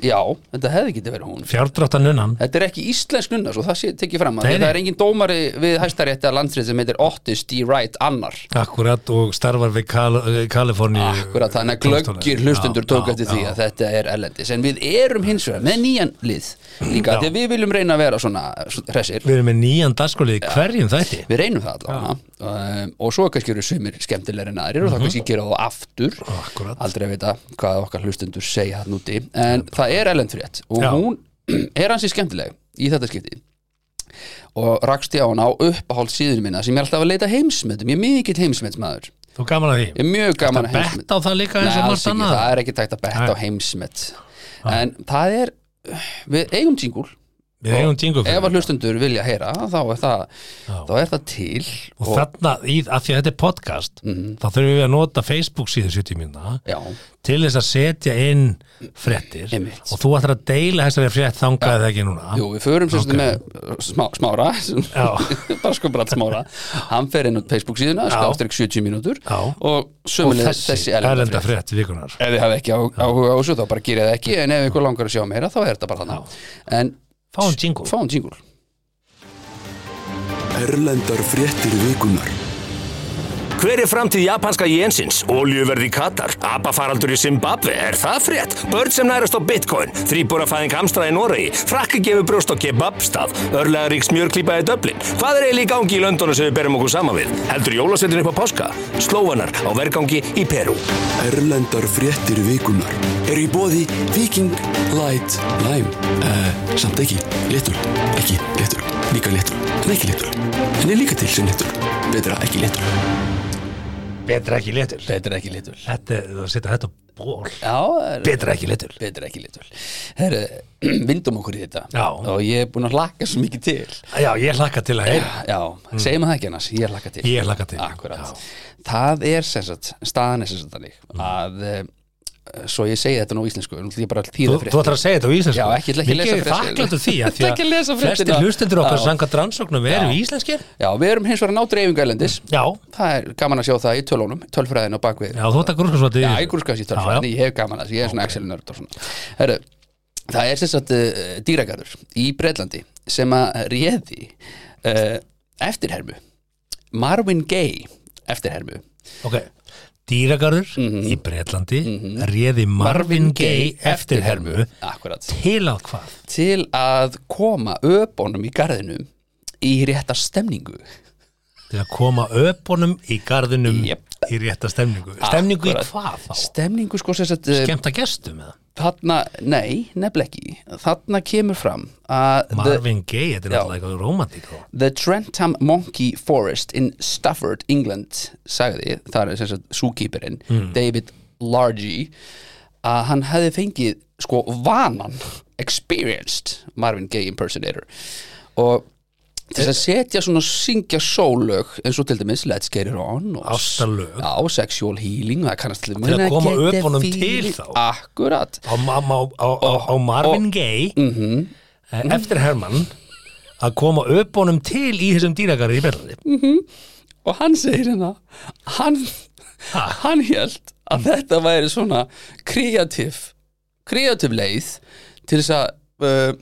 já, þetta hefði getið verið hún fjárdráttanunnan Þetta er ekki íslensk nunna, svo það sé tekið fram að Nei, því að nei. það er engin dómari við hæstarétta landsrið sem heitir Otis D. Wright annar Akkurat og starfar við Kal eh, Kaliforni Akkurat, þannig að glöggir hlustendur tók eftir því að þetta er erlendis en við erum hins vegar með nýjan lið líka, Já. því að við viljum reyna að vera svona svona hressir, Við erum með nýjan dagskólið í hverjum þætti við reynum það allavega um, og svo kannski eru sumir skemmtilegri en aðrir og það kannski gera þá aftur Mhm. Akkurat. aldrei að vita hvað okkar hlustendur segja hann úti, en það er ellendfrétt og Já. hún er hansi skemmtileg í þetta skipti og rakst ég á hann á uppáhald síðunum minna sem ég er alltaf að leita heimsmetum, ég er mikill heimsmetsmaður Þú gaman að ég því er mjög gaman að heimsmet Bett á það líka eins Nei, og alls margt ekki, annað það er ekki tækt að betta á Nei. heimsmet En það er Við eigum tíngul Við eigum jingle Ef fyrir að þetta. hlustundur vilja heyra þá er það, þá er það til og þarna, í, af því að þetta er podcast Mhm. þá þurfum við að nota Facebook síðu 70 mínúna Já, til þess að setja inn fréttir Einmitt. og þú ætlar að deila þessari frétt þangað eða ekki núna jú, við förum sérstu Ok. með uh, smá, smára Já. bara sko brætt smára hann fer inn á Facebook síðuna, skástrík 70 mínútur Já. og og sömuleg þessi, þessi erlenda erlenda frétt frétt vikunar ef þið hafið ekki á- áhuga á þessu þá bara gerið það ekki en ef ykkur langar að sjá meira þá er þetta bara þannig en fáum jingle fáum jingle Erlendar fréttir vikunar Hver er framtíð japanska jensins? Oljuverð í Katar, abafaraldur í Zimbabwe, er það frétt? Börn sem nærast á bitcoin, þrýbúrafæðing hamstra í Noregi, frakki gefur brjóst á kebabstað, örlegarík smjörklípa í Dublin. Hvað er eiginlega í gangi í Londonu sem við berum okkur saman við? Heldur jólasetin upp á páska? Slóanar á vergangi í Peru. Erlendar fréttir vikunar Er í bóði Viking Light Lime uh, Samt ekki, léttur Ekki, léttur, líka léttur En ekki léttur, en er líka til sem léttur Betra ekki léttur betra ekki litur betur ekki litul já, þetta, er- þú setja þetta á ból er- betra ekki litur betur ekki litul herru, vindum okkur í þetta Já. og ég er búin að hlakka svo mikið til já, ég hlakka til að heyra já, segjum það ekki annars, ég hlakka til Mm. Ég hlakka til. Akkúrat. Já. Mm. það er sem sagt, staðan er sem sagt þannig að eh, svo ég segi þetta nú á íslensku nú ætla ég bara að Þú, tíða þú ætlar að segja þetta á íslensku Já, ekki- ætla ekki að lesa Mikið fréttir. þakklátur því að því Ætla ekki að lesa að flestir fréttina. hlustendur okkar Já. sangat rannsóknum eru Já. íslenskir já, við erum hins vegar að ná dreifingu erlendis Já, það er gaman að sjá það í tölunum, tölfræðin og bakvið já þú ætlar að grúska svo að Já, ég grúskast í Já, já. tölfræði, en ég hef gaman að þessu, ég er svona Excel nörd og svona. Herru, það er sem sagt uh, dýragarður í Breitlandi sem að réði uh, eftirhermu, Marvin Gaye eftirhermu. Ok, dýragarður Mhm. í Breitlandi réði Marvin Gaye eftirhermu Akkurat, til að hvað? til að koma öpunum í garðinu í rétta stemningu. Til að koma öpunum í garðinum Jep. í rétta stemningu Stemningu í Akkurat. hvað þá? Stemningu sko sem sagt, uh, Skemmt að gestum eða? þarna, nei, nefnileg ekki, þarna kemur fram að... the- Marvin Gaye, þetta er Já. náttúrulega eitthvað romantík þá. The Trentham Monkey Forest in Stafford, England sagði, það er sem sagt súkýperinn Mm. David Largy að hann hefði fengið sko vanan experienced Marvin Gaye impersonator og til þess að Eh. setja svona syngja sólög eins og til dæmis Let's Get It On og, Ástarlög. Já, Sexual Healing, það kannast til að When I koma get the öpunum feeling. til þá. Akkurat Á, á, á, á, á, á Marvin Gaye Mhm. eh, eftir Herman að koma öpunum til í þessum dýragarði í Breitlandi og hann segir hérna hann, hann held að þetta væri svona kreatív kreatív leið til þess að uh,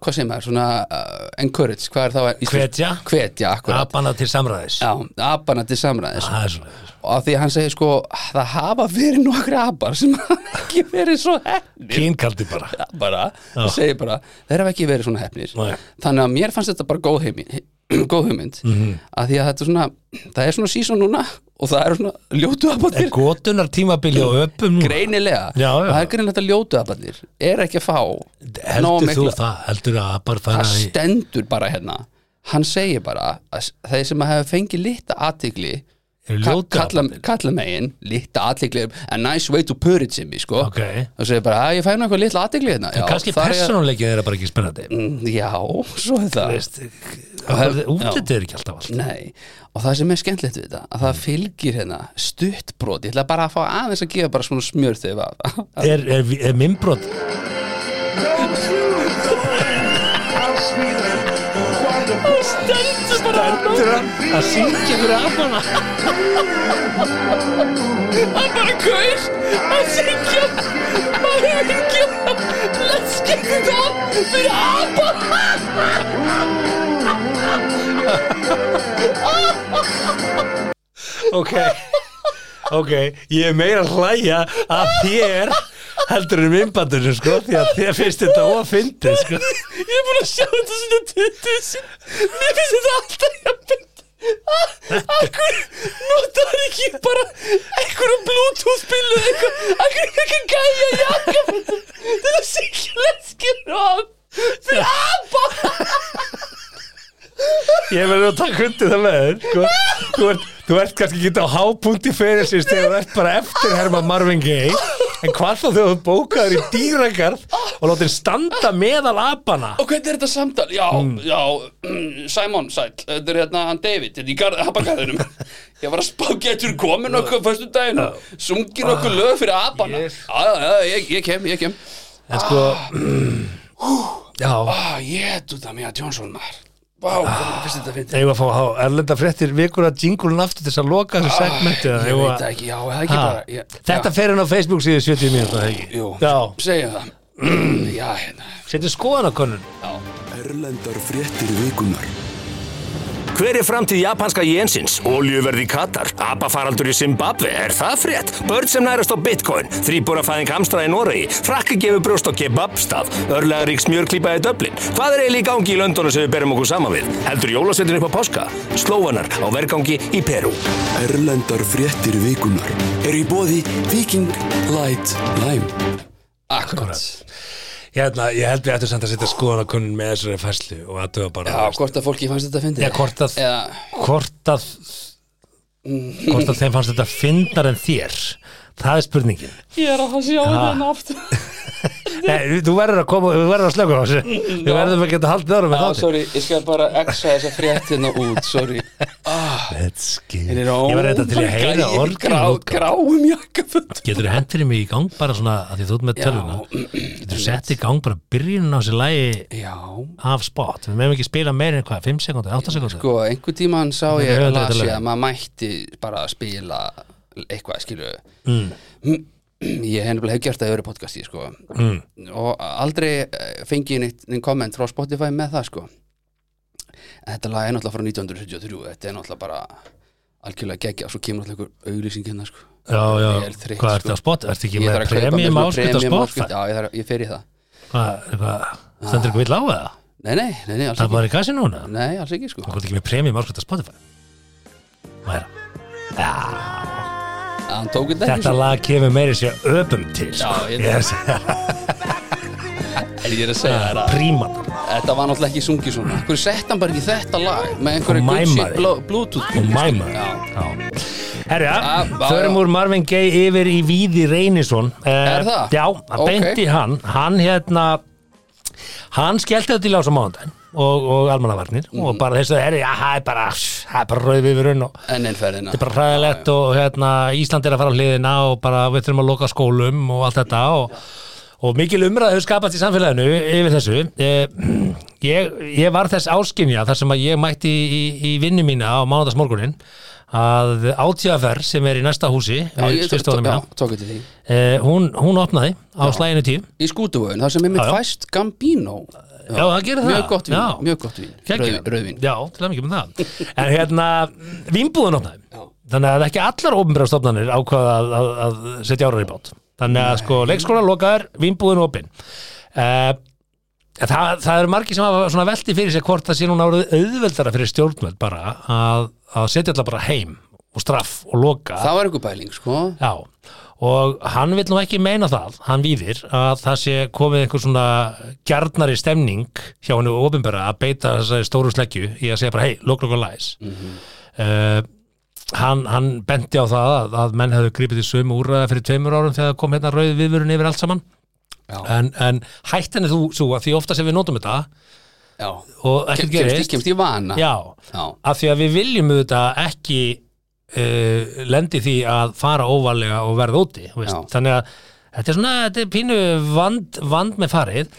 hvað segir maður, svona uh, encourage, hvað er það Hvetja. hvetja, akkurat Abana til samræðis Já, apana til samræðis Það er svoleiðis. og af því að hann segir sko það hafa verið nokkri apar sem hafa ekki verið svo hefnir Kynkaldi bara bara, og segir bara þeir hafa ekki verið svona hefnir Nei. þannig að mér fannst þetta bara góð hugmynd, góð hugmynd mm Mhm. að því að þetta er svona það er svona sísón núna og það eru svona ljótu Er abatnir gotunar tímabili á öpum núna? greinilega, Já, já. það er greinilegt að ljótu abatnir er ekki að fá nógu Heldur þú mikla- það? Heldur að apar fara það í stendur bara hérna hann segir bara að s- þeir sem hafa fengið litta aðtigli Eru ljótu abarnir? kalla megin litta aðtigli a nice way to put it sem við sko Ok. og segir bara að ég fæði nú eitthvað litla aðtigli hérna Já, En kannski þar er- persónuleikið er bara ekki spennandi Mm, Já, svo er það Veist, Útlitið er ekki alltaf allt Nei, og það sem er skemmtilegt við þetta að það fylgir hérna stuttbrot ég ætla bara að fá aðeins að gefa bara svona smjör þegar það Er, er, er minnbrot Stendur hann að syngja fyrir afana Hann bara kaur að syngja að syngja Let's get it on fyrir afana Ok Ok, ég er meira að hlæja að þér heldur um innbandinu sko því að þér finnst þetta ofindið sko Ég er búin að sjá þetta svona 20 sinni Mér finnst þetta alltaf jafn Akkur notar ekki bara einhverju bluetooth spilu Akkur ekki gæja jakka Þetta er sikkilegskir og fyrir apa Ég verður að taka undir það með þér sko. þú, ert, þú ert kannski ekki á hápunkti fyrir síns þegar þú ert bara eftir Herman Marvin Gaye en hvað þá þegar þú bókaður í dýragarð og látið standa meðal apana Og hvernig er þetta samtal? Já, já, mm, Simon Sæll, þetta er hérna hann David, þetta er í garð, abagarðinum Ég var að spá getur komin okkur fyrstu daginu, sungin okkur lög fyrir abana Já, Yes. já, já, ég, ég kem, ég kem en sko já, Á, ég er þetta með að Johnson maður Vá, hvernig fyrst þetta fyndi eigum við að fá að erlenda fréttir vikur að jingulun aftur til þess að loka þessu segmenti eða Ah, Ég eigum við veit það að- ekki, já, það ekki Ha, bara ég, þetta já, fer hann á Facebook síðu 70 mínútur eða ekki? Jú, já, segja það Já, hérna setjum skoðan á konun Erlendar fréttir vikunar Hver er framtíð japanska jensins? Oljuverð í Katar, abafaraldur í Zimbabwe, er það frétt? Börn sem nærast á bitcoin, þrýbúrafæðing hamstra í Noregi, frakki gefur brjóst á kebabstað, örlegarík smjörklípa í Dublin. Hvað er eiginlega í gangi í löndunum sem við berum okkur saman við? Heldur jólasveitin upp á páska? Slóvanar á vergangi í Perú. Erlendar fréttir vikunar Er í bóði Viking Light Lime Akkurat hérna, ég held við ættum samt að setja skoðan á konun með þessari fæslu og að þau bara Já, hvort að fólki fannst þetta fyndi Já, hvort að, Eða, hvort að hvort að þeim fannst þetta fyndar en þér það er spurningin ég er að sjá þennan aftur Nei, þú verður að koma, þú verður að slöka á þessu við verðum að geta haldið ára með Já, þáttir sorry, ég skal bara exa þessa fréttina út, sorry Let's go. Þeir eru ég var þetta til ómakað að heyra í grá- orðin Gráum jakkaföld Getur þú hendur mig í gang bara svona að því þú ert með Já. töluna Getur þú sett í gang bara byrjunin á sér lægi Já, af spot Við meðum ekki spila meira en hvað, 5 sekúndur, 8 sekúndur sko, einhvern tímann sá Nei, ég höfum þetta las ég lög. að maður mætti bara að spila eitthvað, skilu Mm. Ég hef nefnilega hef gert það í öru podcasti, sko og aldrei eh, fengi ég neitt, neitt komment frá Spotify með það, sko En Þetta lag er náttúrulega frá 1973 þetta er náttúrulega bara algjörlega geggja, svo kemur alltaf einhver auglýsing hérna, sko Já, já, Vel þreytt, sko. hvað ertu á spot? Ertu ekki Ég með þarf að kaupa premium miklu áskut á premium spot? áskrift. Já, ég, þarf, ég fer í það Hvað, hvað, sko. stendur ekki vill á það? Nei, nei, nei, nei, alls Það er ekki bara í gasi núna? Nei, alls ekki, sko Það er ekki með premium áskut á Spotify Mæra Hann tók þetta ekki sko. Þetta svo. lag kemur meiri sér öpum til Já, sko. ég- Yes. En Ég er að segja þér að Príman Þetta var náttúrulega ekki sungið svona Hverju sett hann bara ekki þetta lag Með einhverju Og Gucci mæmaði. blo- Bluetooth og mæma Já. Herru, Já, ja, já, förum já. úr Marvin Gaye yfir í Víði Reynisson eh, Er það? Já, hann Ok. beinti hann hann hérna hann skellti þetta í lásum mánudaginn og, og almannavarnir Mhm. og bara þess að herru, já, það er bara það er bara rauð við raun og Enn einn ferðina þetta er bara hræðilegt og hérna, Ísland er að fara á hliðina og bara við þurfum að loka skólum og allt þetta og, og mikil umræðu hefur skapast í samfélaginu yfir þessu Eh, ég, ég var þess áskynja þar sem að ég mætti í, í, í vinnu mína á mánudagsmorgunin að átíðafer sem er í næsta húsi Já, ég tók skrifstofuna mína, já, tók þetta því eh, hún, hún opnaði á slæginu tíu Í skútuvögun, það sem er mitt Já, já. fæst Gambino Já, það gerir það. Mjög gott vín, Já. mjög gott vín Kekja. Rauðvín, rauðvín Já, til að mikið með það En hérna, vínbúðan opnaði Þannig að ekki allar ofnbjörnstofnanir ákvaða að, að, að setja árar í bát Þannig að sko, leikskóla lokaður, vínbúðin opin uh, það, það eru margir sem hafa svona velti fyrir sér hvort það sé núna orðið auðveldara fyrir stjórnvöld bara að, að setja allar bara heim og straff og loka Það var einhver bæling, sko Já, og hann vil nú ekki meina það, hann víðir, að það sé komið einhver svona gjarnari stemning hjá hennu ofinbæra að beita þessari stóru sleggju í að segja bara, hei, lokla okkur læs. Mm Mhm. hann, hann benti á það að, að menn hefðu gripið í sömu úrraða fyrir tveimur árum þegar kom hérna rauð viðvörun yfir allt saman. Já, En, en hættan er þú, þú að því ofta sem við notum þetta já og ekkert Kemst- Kemst gerist, kemst í vana já, já. af því að við viljum auðvitað ekki uh, lendi því að fara óvarlega og verða úti þú veist. Já. þannig að þetta er svona þetta er pínu vand, vand með farið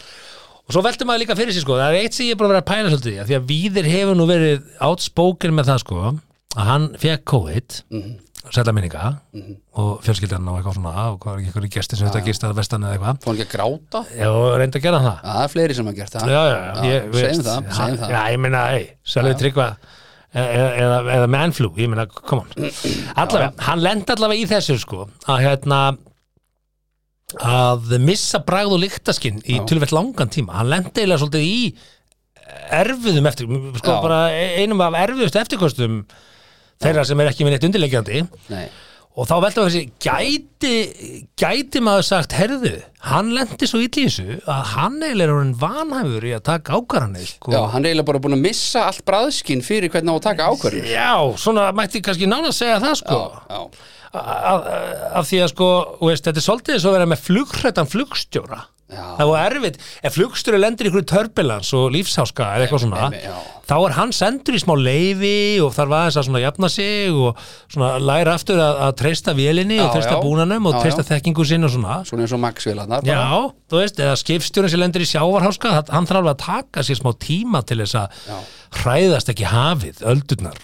og svo veltum maður líka fyrir sér sko það er eitt sem ég er búin að vera að pæla svolítið í af því að Víðir hefur nú verið outspoken með það sko að hann fekk COVID sætla minninga og fjölskyldan og eitthvað svona og hvað er ekki einhverju gestir sem þetta gist að vestan eða eitthvað Fór hann ekki að gráta og reynda að gera það Já, Það er fleiri sem hafa gert það já, já, já, ég, Segjum það, veist, já, segjum það já, ég meina, hei, Sölvi Tryggva e- e- eða, eða mannflú, ég meina, come on allavega, hann lend allavega í þessu sko, að hérna að missa bragð og lyktaskinn í tölvett langan tíma, hann lendi eiginlega svolítið í erfiðum eftir, sko Já. bara einum af erfiðust eftirkostum þeirra sem er ekki með neitt undirleikjandi Nei, og þá veltum við þessi gæti, gæti maður sagt herðu, hann lendi svo illa í þessu að hann eiginlega er orðin vanhæfur í að taka ákvarðanir sko. Já, hann er eiginlega bara búin að missa allt bræðskinn fyrir hvernig á að taka ákvörður. Já, svona mætti kannski nána að segja það sko Já, af, af því að sko, þú veist, þetta er svolítið eins og að vera með flugrættan flugstjóra Já. það var erfitt, ef flugstjóri lendir í ykkur turbulence og lífsháska eða eitthvað svona nei, já. þá er hann sendur í smá leifi og þarf aðeins að svona jafna sig og svona læra aftur að, að treysta vélinni Já, og treysta já. búnanum og Já, treysta þekkingu sinn og svona svona eins og Max Vilarnar. Já, þú veist, eða skipstjórinn sem lendir í sjávarháska það- hann þarf alveg að taka sér smá tíma til þess að hræðast ekki hafið öldurnar,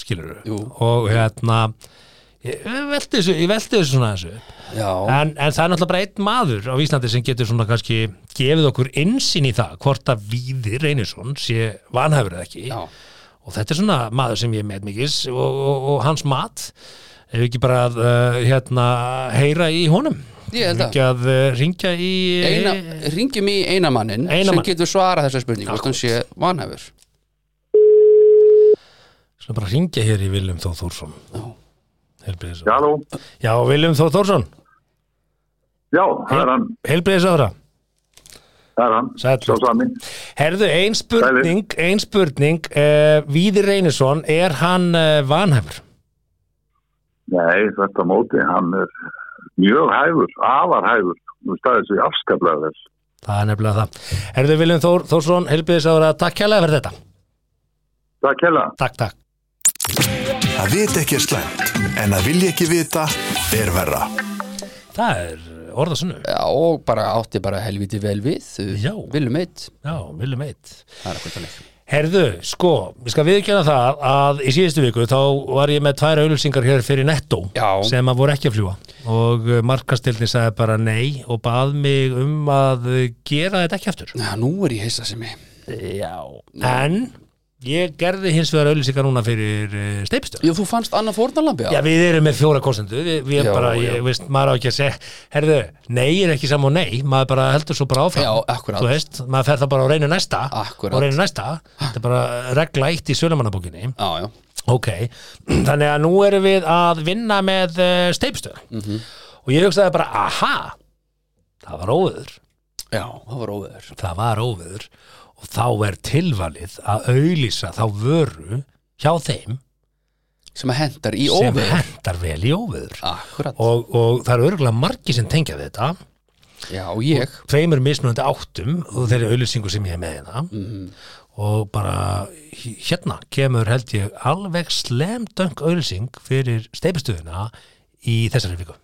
skilur Jú. og hérna ég ég velti þessu, ég velti þessu svona þessu upp. Já, en, en það er náttúrulega bara einn maður á Íslandi sem getur svona kannski gefið okkur innsýn í það hvort að Víðir Reynisson sé vanhæfur eða ekki já. og þetta er svona maður sem ég met mikils og, og, og hans mat ef ekki bara að uh, hérna, heyra í honum Ég held að. ekki að uh, ringja í Eina, ringjum í einamannin Eina sem mann. getur svarað þessar spurningu, hvort hann sé vanhæfur. Svona bara ringja hér í Viljum Þór Þórsson Já, Helbriðis Halló, Já, Viljum Þór Þórsson, já, það er hann, helbriðis ára það er hann, Sæll. sá sami. Herðu, ein spurning, ein spurning uh, Víðir Reynisson, er hann uh, vanhæfur? Nei, þetta móti, hann er mjög hæfur, afar hæfur, nú staðið sér afskaplega þess. Það er nefnilega það Herðu, Viljum Þór Þórsson, helbriðis ára Takk hérlega fyrir þetta, Takk hella. takk, takk Að vita ekki er slæmt, en að vilja ekki vita er verra. Það er orðasunnu Já, og bara átti bara helviti vel við. Já. Viljum eitt. Já, Viljum eitt Það er ekkert að leik. Herðu, sko, ég skal viðkjöna það að í síðustu viku þá var ég með tvær auðlýsingar hér fyrir Netto Já. sem að voru ekki að fljúa og markastildin sagði bara nei og bað mig um að gera þetta ekki aftur. Já, nú er ég heissa sem ég. Já. En ég gerði hins vegar auðlýsingar núna fyrir uh, steipstöð. Já, þú fannst annað fórnalambi Já, við erum með fjóra kostendu, við, við Já, bara, ég já. veist, maður á ekki að segja, herðu, nei er ekki saman og nei, maður bara heldur svo bara áfram, Já, akkurat. þú veist, maður fer það bara á reynu næsta, Akkurat. og reynu næsta, þetta er bara regla eitt í sölumannabókinni, Já, já. Ok, þannig að nú erum við að vinna með uh, steipstöð Mhm. og ég hugsaði bara, aha, það var óveður, Já, það var óveður. það var óveður og þá er tilvalið að auðlýsa þá vöru hjá þeim Sem að hendar í sem óveður. hendar vel í óveður Akkurat. og, og það eru örgulega margi sem tengja við þetta Já, og ég. tveimur mismunandi áttum og þeirri auðlýsingu sem ég er með hérna Mhm. og bara h- hérna kemur held ég alveg slemdöng auðlýsing fyrir steipstöðuna í þessari viku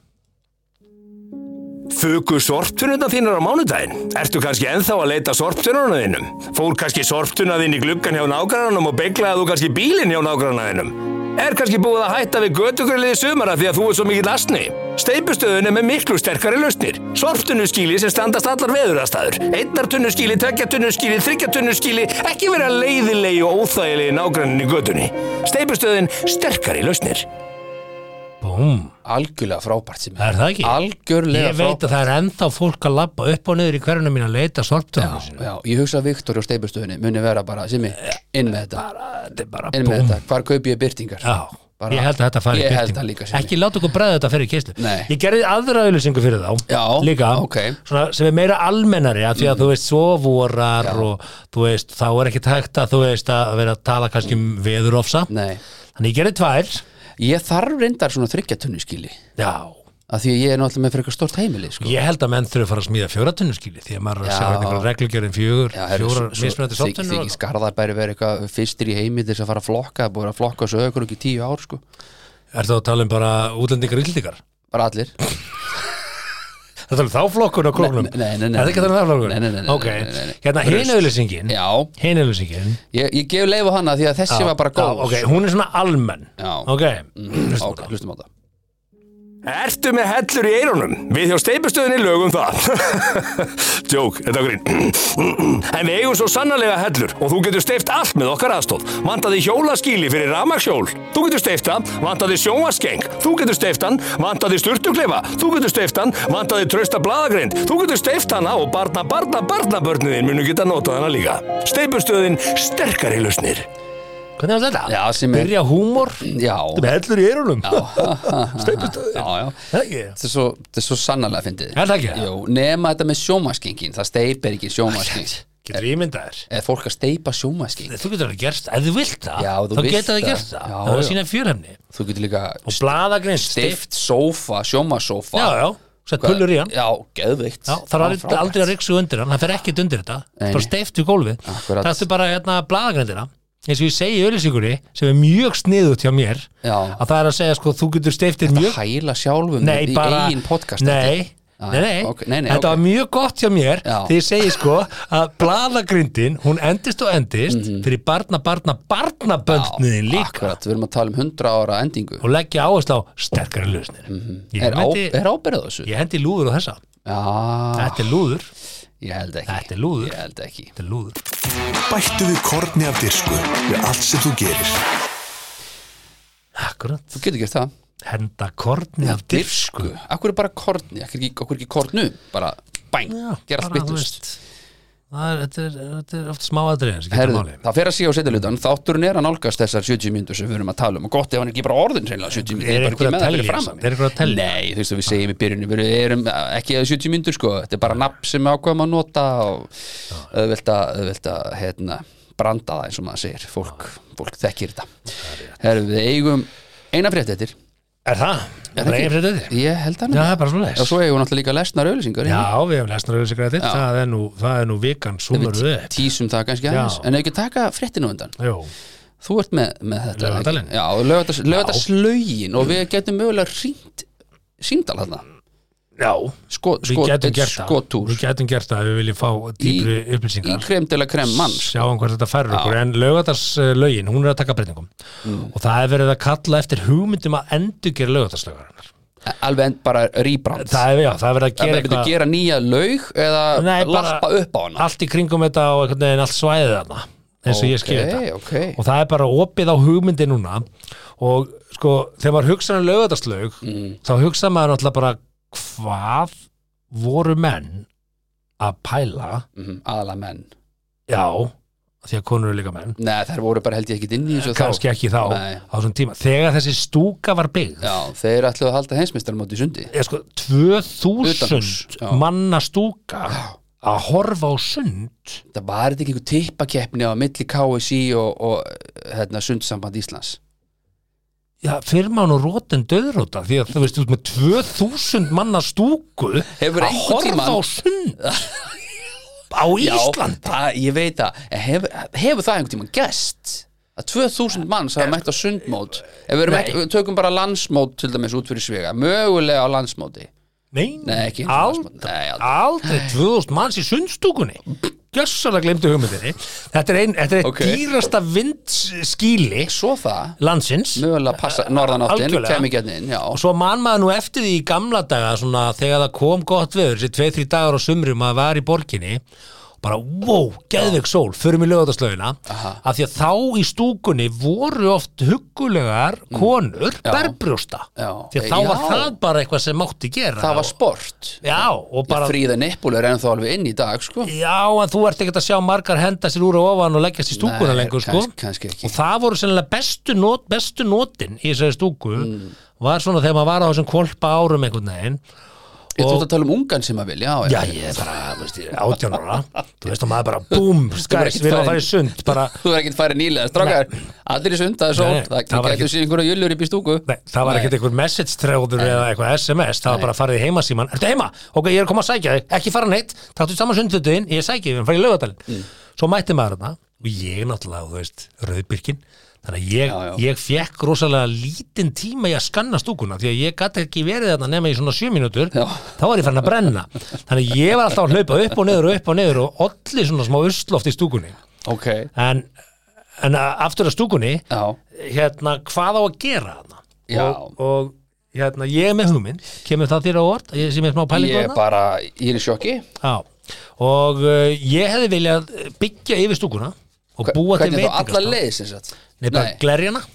Fugu sorptununa þínar á mánudaginn? Ertu kannski ennþá að leita sorptununa þínum? Fór kannski sorptuna þín í gluggan hjá nágrannanum og beiglaði þú kannski bílinn hjá nágrannaðinum? Er kannski búið að hætta við götugröliði sumara því að þú er svo mikill asni? Steipustöðun er með miklu sterkari lausnir. Sorptunnuskíli sem standast allar veðurastæður. Einnartunnuskíli, tveggjartunnuskíli, þryggjartunnuskíli, ekki vera leiðilegi og óþægilegi nágrannin í götunni. Steipustöðun sterkari lausnir. Búm, Algjörlega frábært sem ég. er það ekki? Algjörlega ég veit frábært. að það er ennþá fólk að labba upp og niður í hverjunum mín að leita sorptöðuna sína Já, ég hugsa að Viktor á steipustöðunni muni vera bara, Simmi, inn með þetta. þetta er bara inn með búm þetta, hvar kaupi ég byrtingar Já, Bara- ég held að þetta fari í Ég held birtingu. það líka, Simmi. Ekki láta okkur bræða þetta fyrir kyslu Nei. Ég gerði aðra auðlýsingu fyrir þá Já, Mm. Líka, ókei. svona, sem er meira almennari að Því að þú veist, svo vorar og þú veist, þá er ekki tækt að þú veist að vera að tala kannski um veðurofsa Nei, Þannig ég gerði tvær ég þarf reyndar svona þryggjatunni skili Já, af því að ég er náttúrulega með frekar stort heimili sko. ég held að menn þurfi að fara að smíða fjóratunnu skili Því að maður er að Já. sjá einhverjum reglugjörðin um fjögur Já, herru, Fjórar svo- svo- mismunandi þyk- sóttunni Þykir skarðar bæri verið eitthvað fyrstir í heimi til þess að fara að flokka, það er búið að flokka þessu ökur ekki í tíu ár sko, Er það að tala um bara útlendingar yllendingar? bara allir Það tala um þá flokkun á klóknum? Nei, nei, nei, nei. Er það ekki þannig að um Nei, nei, nei, flokkun? nei, Ok, nei, nei, nei. hérna Rusl. hinauðlýsingin Já, Hinauðlýsingin ég, ég gef leifu hana því að þessi var bara góð ok, hún er svona almenn Já. Mhm, ok, hlustum á ok, hlustum á það Ertu með hellur í eyrunum? Við hjá steipustöðinni lögum það. Djók, þetta er grín. en við eigum svo sannarlega hellur og þú getur steift allt með okkar aðstóð. Vantaði hjólaskíli fyrir ramaksjól. Þú getur steift hann. Vantaði sjónvaskeng. Þú getur steift hann. Vantaði sturtuklefa. Þú getur steift hann. Vantaði trösta bladagrind. Þú getur steift hana og barna, barna, barna börnuðin munu geta notað hana líka. Steipustöðin sterkari lausnir. Hvernig var þetta? Já, sem er- Byrja húmor Já, Þetta er hellur í eyrunum já, já Það ekki Þetta er svo, þetta er svo sannarlega fyndið Er það ekki? Jú, nema þetta með sjómaskingin Það steipir ekki sjómaskingin Getur ímyndað þér Eða fólk að steipa sjómaskingin Þú getur alveg gerst, ef þú vilt það Já, þú Þá vilt getur það það. gerst það Já, Það var já. sína fjörhefni Þú getur líka Og bladagrein steift sófa, sjómasófa Já, já, sett pullur í hann Já, geðveikt Já, það er frábært. aldrei að ryksu undir hann, hann fer ekkert undir þetta Nei, bara nei. steift í gólfið Akkurat. það er bara hérna bladagrendina eins og ég segi í öllisíkunni sem er mjög sniðut hjá mér Já. að það er að segja sko þú getur steiftir Þetta mjög hæla sjálfum nei, í bara, eigin podcast Ah, nei, Já, nei, nei. ok, nei, nei, ok. þetta var mjög gott hjá mér Já. þegar ég segi sko að bladagrindin hún endist og endist fyrir barna, barna, barnaböndniðin líka Mhm. Akkurat, við erum að tala um 100 ára endingu og leggja áherslu á sterkari lausnir ég, Mhm. Er, á, hendi, er ábyrðað þessu? ég hendi lúður á þessa Já, þetta er lúður, ég held ekki Þetta er lúður. Ég held ekki þetta er lúður Bættu við korni af dirsku við allt sem þú gerir. akkurat, Þú getur gert það henda korni af dirsku Akkur er bara korni, akkur ekki, akkur ekki kornu Bara bæn, gera allt bara, þú byttust veist, það er- þetta er- þetta er oft smá aðriðin Herðu, það fer að síga á setjalutan Þátturinn er að nálgast þessar 70 myndur sem við erum að tala um og gott ef hann er ekki bara orðin reynilega 70 myndur Er einhver að telja í þessu? Er einhver að telja? Nei, þú veist að við segjum í byrjunum við erum ekki að 70 myndur sko þetta er bara nafn sem við ákvæðum að nota og auðvelt að, auðvelt að hérna, branda það eins og maður segir fólk, fólk þekkir þetta Herðu, við eigum eina frétt eftir er það, Er það það er eigin ekki? fyrir þetta Ég held að já, það er bara svo Og svo eigum við náttúrulega líka lesnar auðlýsingar Já, við hefum lesnar auðvitað til, Já. það er nú, það er nú vikan súmur við upp. tísum það kannski aðeins en ef ekki taka fréttinu undan Jú, Þú ert með, með þetta Laugardalinn? ekki? Já, lögadags, lögadagslaugin og við getum mögulega hringt síndal þarna já, sko, við sko, getum gert það, skotúr við getum gert það, ef við viljum fá dýpri í upplýsingar, krem til að krem mann sjáum hvað þetta færur okkur, en lögatarslaugin, hún er að taka breytingum Mm. og það er verið að kalla eftir hugmyndum að endurgera lögatarslaugarinnar. alveg en bara rýbrand Það er, já, það er verið að það gera er eitthvað gera nýja laug eða Nei, bara- lappa upp á hana allt í kringum þetta og einhvern veginn allt svæðið þarna, eins og ég skil þetta. okay, og það er bara opið á hugmyndi núna og sko þegar maður hugsa um lögðarslaug Mm, þá hugsa maður náttúrulega bara hvað voru menn að pæla okay. aðla mm, menn já, því að konur eru líka menn Nei, þær voru bara held ég ekki inn í þessu þá. kannski ekki þá Nei. á þessum tíma þegar þessi stúka var byggð Já, þeir ætluðu að halda heimsmeistarmóti í sundi er sko Utanhúss, 2000 já. manna stúka að horfa á sund Það var þetta ekki einhver tippakeppni á milli KSI og, og hérna, sundsamband Íslands já, fyrir maður nú rótin döðróta því að þú veist út með 2000 manna stúku Hefur að einhvern horfa tímann- á sund á Ísland Já, það, ég veit að hefur hef það einhvern tímann gæst að 2000 manns hafa mætt á sundmót ef við, erum ekki, við tökum bara landsmót til dæmis út fyrir svega, mögulega á landsmóti Nei, Nei, ekki einu sinni aldrei, landsmót. Nei, aldrei. aldrei 2000 manns í sundstúkunni Gjössalega glemdu hugmyndinni Þetta er einn, þetta er einn Ok. dýrasta vindskíli svo það, landsins mögulega passa norðanáttin Algjörlega. kemur ekki inn, já, og svo man maður nú eftir því í gamla daga svona, þegar það kom gott veður þessi 2-3 dagar á sumri maður var í borginni bara, wow, geðveik sól förum í lögataslaugina af því að þá í stúkunni voru oft huggulegar konur berbrjósta Mm. Já. því að þá var Já. það bara eitthvað sem mátti gera það var sport já, og bara fríða nippul er ennþá alveg inn í dag sko. Já, en þú ert ekkert að sjá margar henda sér úr og ofan og leggjast í stúkuna Nei, lengur sko. kannski- kannski ekki. og það voru sennilega bestu, not, bestu notin í þessari stúku var svona þegar maður var á þessum kolpa árum einhvern veginn ég þú ert að tala um ungan sem að vilja Já, ég er bara, veist, ég er átján ára þú veist og maður bara, búm, skæs ekkert við erum farinn- að fara í sund bara, þú er ekkert færið nýlega, strákar allir í sund, það er Nei, sót, það það var getur sér einhverja jullur upp í stúku nei, það var ekkert einhver message træður eða eitthvað SMS, það var bara að fara í heimasíman Ertu heima? Ok, ég er að koma að sækja þig, ekki fara neitt taktu saman sundfötuðin, ég sækja þig, við erum að fara í laugadalinn Mm. Svo mætti maður þarna og ég náttúrulega, þú veist, rauðbyrkin Þannig að ég, Já, já. ég fekk rosalega lítinn tíma í að skanna stúkuna því að ég gæti ekki verið þarna nema í svona sjö mínútur Já. þá var ég fann að brenna þannig að ég var alltaf að hlaupa upp og niður og upp og niður og olli svona smá usloft í stúkunni ok, en, en a- aftur að stúkunni já, hérna, hvað á að gera þarna Já. og, og hérna, ég er með hugminn kemur það þér á orð, ég sem er smá pælingu ég þarna? bara ég er í sjokki Já. og uh, ég hefði viljað byggja yfir stúkuna og búa til hvernig þá alla veitingastað leiðis eins og Nei, bara glerjana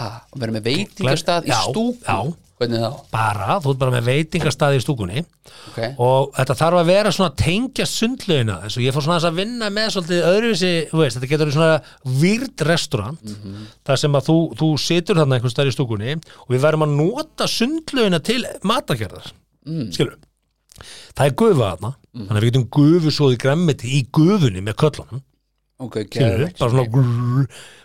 Ha, að vera með veitingastað í já, stúku já, Hvernig þá? bara, þú ert bara með veitingastaði í stúkunni Ok, og þetta þarf að vera svona að tengja sundlaugina eins og ég fór svona aðeins að vinna með svolítið öðruvísi, þú veist, þetta getur verið svona výrd restaurant þar sem að þú, þú situr þarna einhvern stær í stúkunni og við verðum að nota sundlaugina til matagerðar, mm. skilur það er gufa þarna Mm. þannig að við getum gufusóði græmmiti í gufunni með köllunum ok, skilur, geðveikt. bara svona grrr,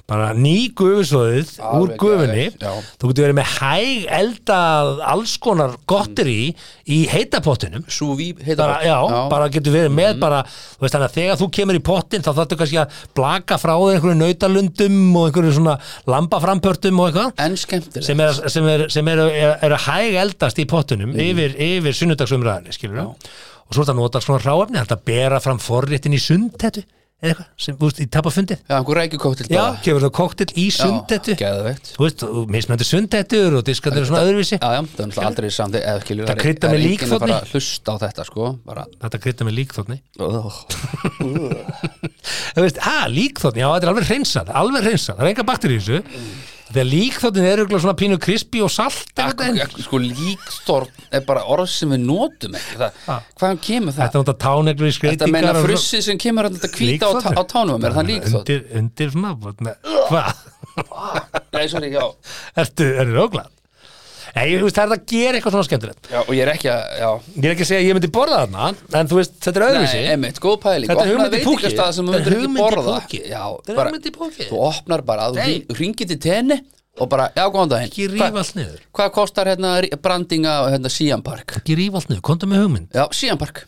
bara ný gufusóðið úr Alveg gufunni geðveikt, já. þú getur verið með hæg eldað alls konar gottir Mm. í í heitapottinum Súví, heita bara, það. já, Mhm. bara getur verið með bara, þú veist þannig að þegar þú kemur í pottin þá þarftu kannski að blaka frá þér einhverju nautalundum og einhverju svona lambaframpörtum og eitthvað En skemmtileg sem, er, sem, er, sem er, er, er að hæg eldast í pottunum yfir, yfir sunnudagsumræðinni skilur og svo er þetta að nota svona ráefni þetta að bera fram forréttin í sundhetu eða eitthvað sem, þú veist, í tapafundið Já, einhver rækjukóttil Já, kemur það koktel í sundhetu Geðveikt Þú veist, og mismöndir sundhetur og diskandir og svona öðruvísi Já, já, það er náttúrulega aldrei samt eða skilur Eh. Það kryddar Það með er enginn að líkþorni. fara að hlusta á þetta sko bara Þetta krydda með líkþotni oh. Þú veist, að líkþotni, já, þetta er alveg hreinsað Alveg hreinsað, það er enga baktur í þessu Mm. Þegar líkþotni er auðvitað svona pínu krispi og salt einhvern veginn. Sko líkþorn er bara orð sem við notum ekki það, Ah. Hvaðan kemur Þetta það? er þetta táneglur í Þetta skreitingar meina og svona- frussið sem kemur að þetta kvíta á, ta- á Líkþorni. tánum á mér, er það líkþorn? Undir, undir svona, svona- hvað? Nei, sorry, já. Ertu, ertu óglað? Nei, þú veist, það er að gera eitthvað svona skemmtilegt já Og ég er ekki að, já Ég er ekki að segja að ég myndi borða þarna En þú veist, þetta er öðruvísi Nei, einmitt, góð pæling Þetta er Opna hugmynd í púki. veitingastað sem þú Þetta er myndir ekki hugmynd í borða púki. Já, Þetta er bara- hugmynd í púki. Þú opnar bara, þú Nei. hring- hringir til tenni og bara, já, góðan daginn Ekki Hvað- rífa allt niður Hvað kostar hérna rí- brandinga og hérna Sian Park? Ekki rífa allt niður, komdu með hugmynd Já, Sian Park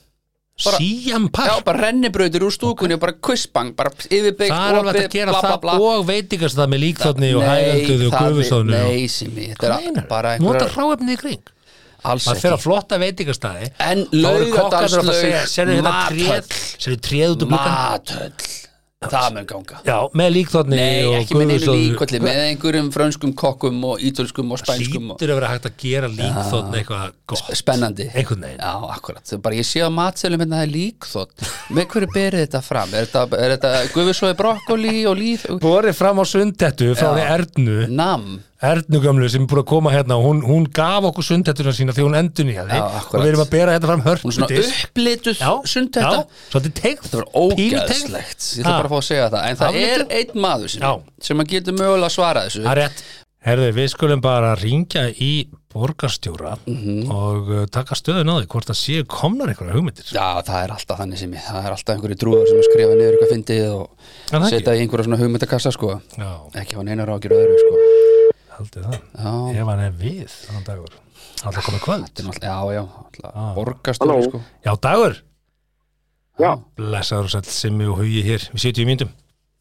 Bara- Siam Já, Park bara rennibrautir úr stúkunni og bara kvissbang, bara yfirbyggt Það er alveg hægt að gera bla, bla, bla. það og veitingast það með líkþotni og Nei, hægölduðu og það er- gufusóðnu Nei, sem ég, þetta er bara Nota einhverjar hráefni í kring Alls Maður ekki fyrir að flotta veitingastæði En Þá eru kokkarnir að laugadalslaug, segja, Sérðu hérna tréð mathöll. Sérðu tréð út úr glukkan Matöll Það mun ganga Já, með líkþotni Nei, og ekki með einu gufusóðnu. líkolli Með einhverjum frönskum kokkum og ítölskum og spænskum og... Hlýtur að vera hægt að gera líkþotni eitthvað gott Spennandi Einhvern veginn Já, akkurat, Þau bara ég sé á matselum hérna það er líkþótt Með hverju berið þetta fram? Er þetta, er þetta gufusói brokkoli og líf? Borið fram á sundhettu frá henni Ernu Nam Ernu gömlu sem er búin að koma hérna og hún, hún gaf okkur sundhettuna sína þegar hún endun í Já, og akkurat. við erum að bera hérna fram Hún er svona hörpudis upplituð sundhetta svolítið tegt Það var ógæðslegt, ég ætla Ha. bara að fá að segja það En það er Afleitur? einn maður sem, Já. sem að getur mögulega að svara þessu Það er rétt Herðu, við skulum bara ringja í borgarstjóra Mhm. og uh, taka stöðun á því hvort það séu komnar einhverja hugmyndir Já, það er alltaf þannig sem ég Það er alltaf einhverju drúður sem að skrifa niður eitthvað fyndið og Er það ekki? setja í einhverja svona hugmyndakassa sko Já, Ekki á neinar ágjur öðru sko haldið það Já, Ef hann er við, þannig dagur Alltaf komið kvöld Ah, þetta er náttúrulega, já, já, alltaf Já. borgastöru sko Já, dagur Já. Blessaður og sæll Simmi og Hugi hér Við setjum í myndum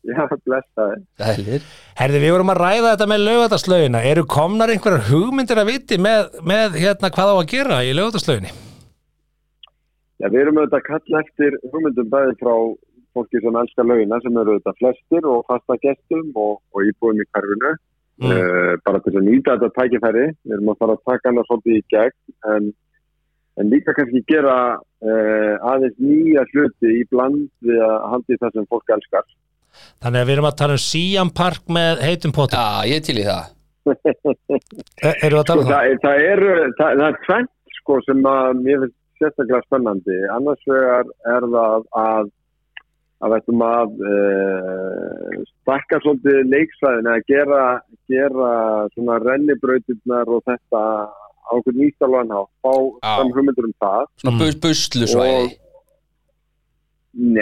Já, blessaði. Ælir. Herði, við vorum að ræða þetta með lögataslaugina. Eru komnar einhverjar hugmyndir að viti með, með hérna, hvað á að gera í lögataslauginni? Já, við erum auðvitað að kalla eftir hugmyndum bæði frá fólki sem elskar laugina sem eru auðvitað flestir og fasta gestum og, og íbúum í hverfinu. Mm. bara til að nýta þetta tækifæri. Við erum að fara að taka hana svolítið í gegn en, en líka kannski gera uh, aðeins nýja hluti í bland við að haldi það sem fólk elskar. Þannig að við erum að tala um Siam Park með heitum Já, potum. ég er til í það Ja. Eru að tala Sko, um það? það, það, er, það, það er tvennt sko, sem að mér finnst sérstaklega spennandi. Annars vegar er það að að veitum að uh, stakka svolítið leiksvæðin að gera, gera svona rennibrautirnar og þetta á einhvern nýstalvan hátt, fá Á. þann hugmyndur um það Svona bus, buslu svæði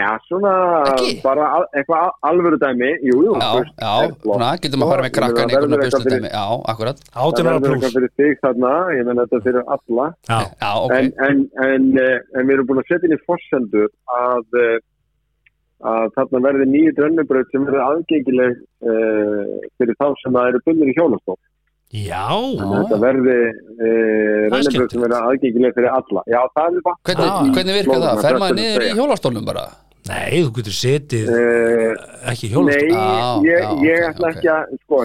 Já, svona Ekki? bara al, eitthvað al- alvöru dæmi jú, jú, Já, bust já, er flott. svona, getum að fara með Ég meina, krakkan það einhvern verður veginn buslu eitthvað fyrir- dæmi Já, akkurat 18 Það ára verður pluss. eitthvað fyrir þig þarna, ég menn þetta fyrir alla Já, Já, ok en, en, en, eh, en við erum búin að setja inn í forsendur að, eh, að þarna verði nýju drönnubraut sem verður aðgengileg uh, fyrir þá sem það eru bundin í hjólastók. já. Þannig að þetta verði uh, Það er skemmtilegt. drönnubraut sem verður aðgengileg fyrir alla. Já, það er vatn. Hvernig, hvernig virkar það? Fer maður niður í hjólastólnum bara? Nei, þú getur setið Uh, ekki í nei, hjólast. Já, ég, já, ég ok, ætla ok. ekki að, sko,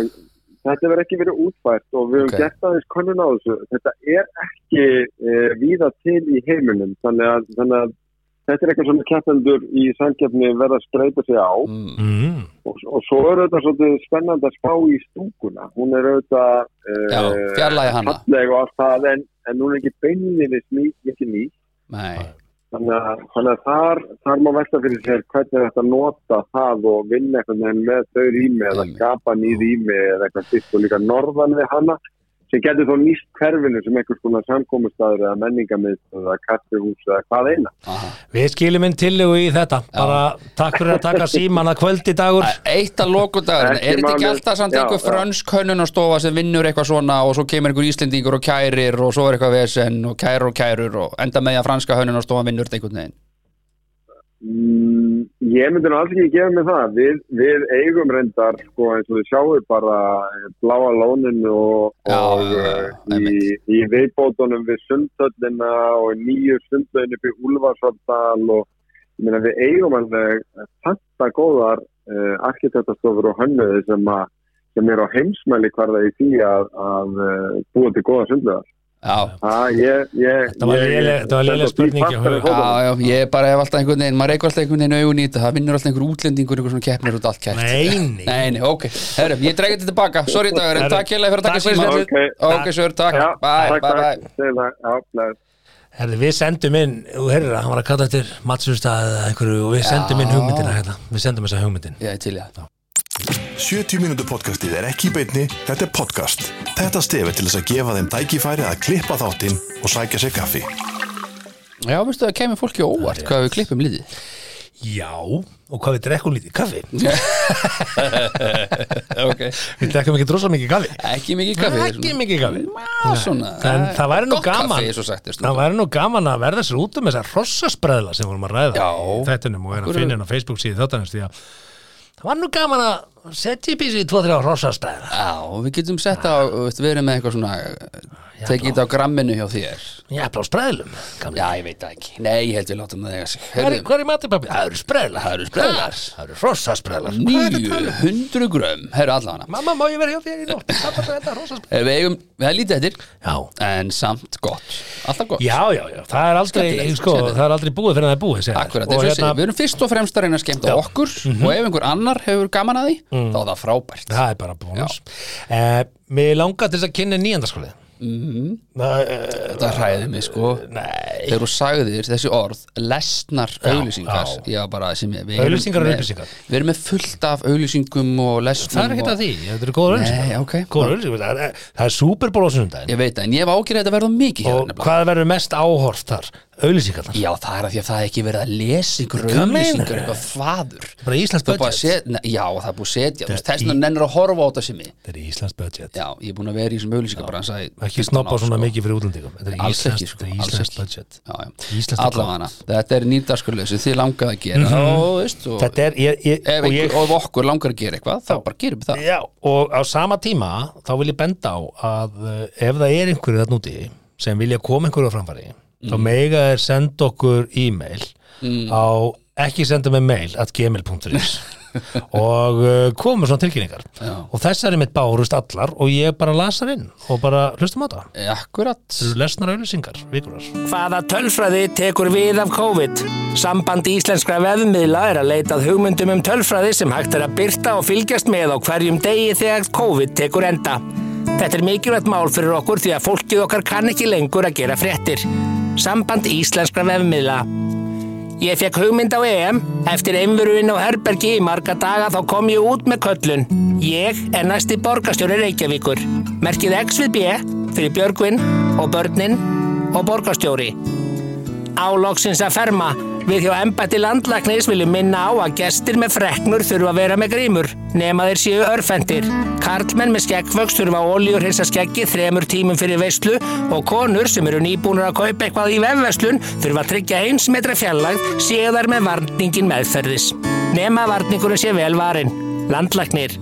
þetta verður ekki verið útfært og við höfum Ok. gert aðeins konun á eh, þessu. Þetta er ekki uh, víða til í heiminum, þannig að, þannig að þetta er eitthvað sem keppendur í samkeppni verða að streyta sig á Mm. og, og svo er auðvitað svolítið spennandi að spá í stúkuna hún er auðvitað eh, Já, fjarlægja hana. falleg og allt það en, en hún er ekki beinlinis ný, ekki ný Nei. þannig að, þannig að þar, þar má velta fyrir sér hvernig þetta nota það og vinna eitthvað með, með þau rými eða skapa nýð rými eða eitthvað fyrst og líka norðan við hana sem getur þá nýst hverfinu sem einhvers konar samkomustæður eða menningamist eða kaffihús eða hvað eina Við skilum inn tillegu í þetta bara takk fyrir að taka síman að kvöldi dagur Eitt að loku dagur Ekki Er þetta ekki málið. alltaf samt Já, einhver já. frönsk hönnunastofa sem vinnur eitthvað svona og svo kemur einhver íslendingur og kærir og svo er eitthvað vesen og kærir og kærir og enda með því að franska hönnunastofa vinnur þetta einhvern veginn Mm, Ég myndi nú alls ekki gefa mig það. Við, við eigum reyndar, sko, eins og við sjáum bara eh, bláa lóninu og, og eh, í, í viðbótunum við sundhöllina og í nýju sundhöllinu fyrir Úlfarsvaldal og ég meina við eigum alveg þetta góðar uh, arkitektastofur og hönnuði sem, a, sem er á heimsmæli hverða í því að, að uh, búa til góða sundhöðar. Já. ég, ég, Þetta var ég- léleg- þetta var léleg stend á því spurning hjá partur í Já, fótboltanum. já, ég bara hef alltaf einhvern veginn, maður reykur alltaf einhvern veginn augun í þetta, það vinnur alltaf einhver útlendingur, einhver svona keppnir út allt kært. Nei, nei. Nei, nei, ok. Herrum, ég dregi þetta tilbaka, sorry dagur, en Herru, takk hérlega fyrir að taka takk fyrir síma. spjallið. Ok, sör, takk. Já, Bye, takk, bye, takk. bye. Herði, við sendum inn, þú heyrður að hann var að kalla eftir matsurstað eða einhverju og við sendum inn Já. hugmyndina hérna, við sendum þessa hugmyndin Já, til ég 70 mínútu podcastið er ekki í beinni, þetta er podcast. Þetta stefið til þess að gefa þeim tækifæri að klippa þáttinn og sækja sér kaffi. Já, veistu, það kemur fólki á óvart hvað við klippum lítið. Já, og hvað við drekkum lítið, kaffi ok. Við drekkum ekki drosa mikið kaffi Ekki mikið kaffi, hérna. Ekki mikið kaffi Má, svona. En það væri nú Gott gaman kaffi, svo sagt er stundum. Það væri nú gaman að verða sér út um þessar hrossaspreðla sem vorum að ræða Já, þettunum og er Akkur- að finna hérna á Facebook síðu þáttanins því að það var nú gaman að setja upp í sig 2-3 hrossaspreðla Já, við getum sett á, veistu, verið með eitthvað svona, tekið þetta á gramminu hjá þér. Já, blá spreðlum Já, ég veit það ekki. Nei, ég held við látum það eiga sig. Hvað er, Heyrðu, hvað er í matið pappi? Það eru spreðla Það eru spreðlar. Það eru hrossaspreðlar Hvað er þetta tala um? 900 grömm, herru allavega Mamma, má ég vera hjá þér í nótt? Það er bara þetta hrossaspreðla Eh, Við eigum, við erum lítið eftir Já. En samt gott, alltaf gott Já, já, já, það er aldrei, Skemmtilegt, sko, skemmtilegt. það er aldrei búið fyrir það er búið segja þeir. Akkurat, Og eins og ég hérna- Mhm. segi, við erum fyrst og fremst að reyna að skemmta okkur Og ef einhver annar hefur gaman að því Mm. Þá er það frábært Það er bara bónus eh, Mér langar til þess að kynna nýjandarskólið mm. Þetta hræði mig sko Nei. Þegar þú sagðir þessi orð Lesnar Já, auglýsingar já. Já, bara sem ég við erum Auglýsingar og með- upplýsingar Við erum með fullt af auglýsingum og lesnum Það er ekkert og- að því, þetta eru góður Nei, auðlýsingar ok Góður auðlýsingar, það er, það er súperból á sunnudaginn Ég veit það, en ég hef ágjörðið að þetta verða mikið hérna, Og nefnilega. hvað verður mest áhorft þar? Auðlýsingarnar Já, það er að því að það er ekki verið að lesa ykkur Hvað auðlýsingar, meinarðu? eitthvað þvaður Bara Íslands Það er búið að budget. set- Nei, Já, það er búið að setja þú veist, Þess vegna nennir að horfa á þetta sem ég Þetta er Íslands budget Já, ég er búin að vera í þessum auðlýsingabransa í Ekki 15 snoppa ár, svona sko. mikið fyrir útlendingum Þetta er Alls Íslands, ekki, sko, þetta er alls Íslands ekki. budget Já, já. Íslands Allavega þetta er nýrdarskurlega sem þið langaði að gera Mhm. og, veist, og, Þetta er, ég, ég, ef og ég einhver, og ef okkur langar að gera eitthvað þá bara gerum við það Já, og á sama tíma þá vil ég benda á að uh, ef það er einhverju þarna úti sem vilja koma einhverju á framfæri þá Mm. mega er senda okkur e-mail á ekki senda með mail at gmail.is og uh, komum svona tilkynningar Já. og þessar er mitt bárust allar og ég bara lasar inn og bara hlustum á það Akkurat lesnar auðlýsingar, vikurar Hvaða tölfræði tekur við af COVID? Samband íslenskra vefmiðla er að leitað hugmyndum um tölfræði sem hægt er að byrta og fylgjast með á hverjum degi þegar COVID tekur enda. Þetta er mikilvægt mál fyrir okkur því að fólkið okkar kann ekki lengur að gera fréttir. Samband íslenskra vefmiðla. Ég fekk hugmynd á EM. Eftir einveruinn á herbergi í marga daga þá kom ég út með köllun. Ég er næsti borgarstjóri Reykjavíkur. Merkið X við B fyrir Björgvin og börnin og borgarstjóri. Álóksins að ferma. Við hjá embætti landlæknis viljum minna á að gestir með freknur þurfa að vera með grímur, nema þeir séu örfendir. Karlmenn með skeggvöxt þurfa olíur hinsa skeggi þremur tímum fyrir veislu og konur sem eru nýbúnur að kaupa eitthvað í vefveslun þurfa að tryggja eins metra fjallag séðar með varningin meðferðis. Nema varningurinn sé vel varin. Landlæknir.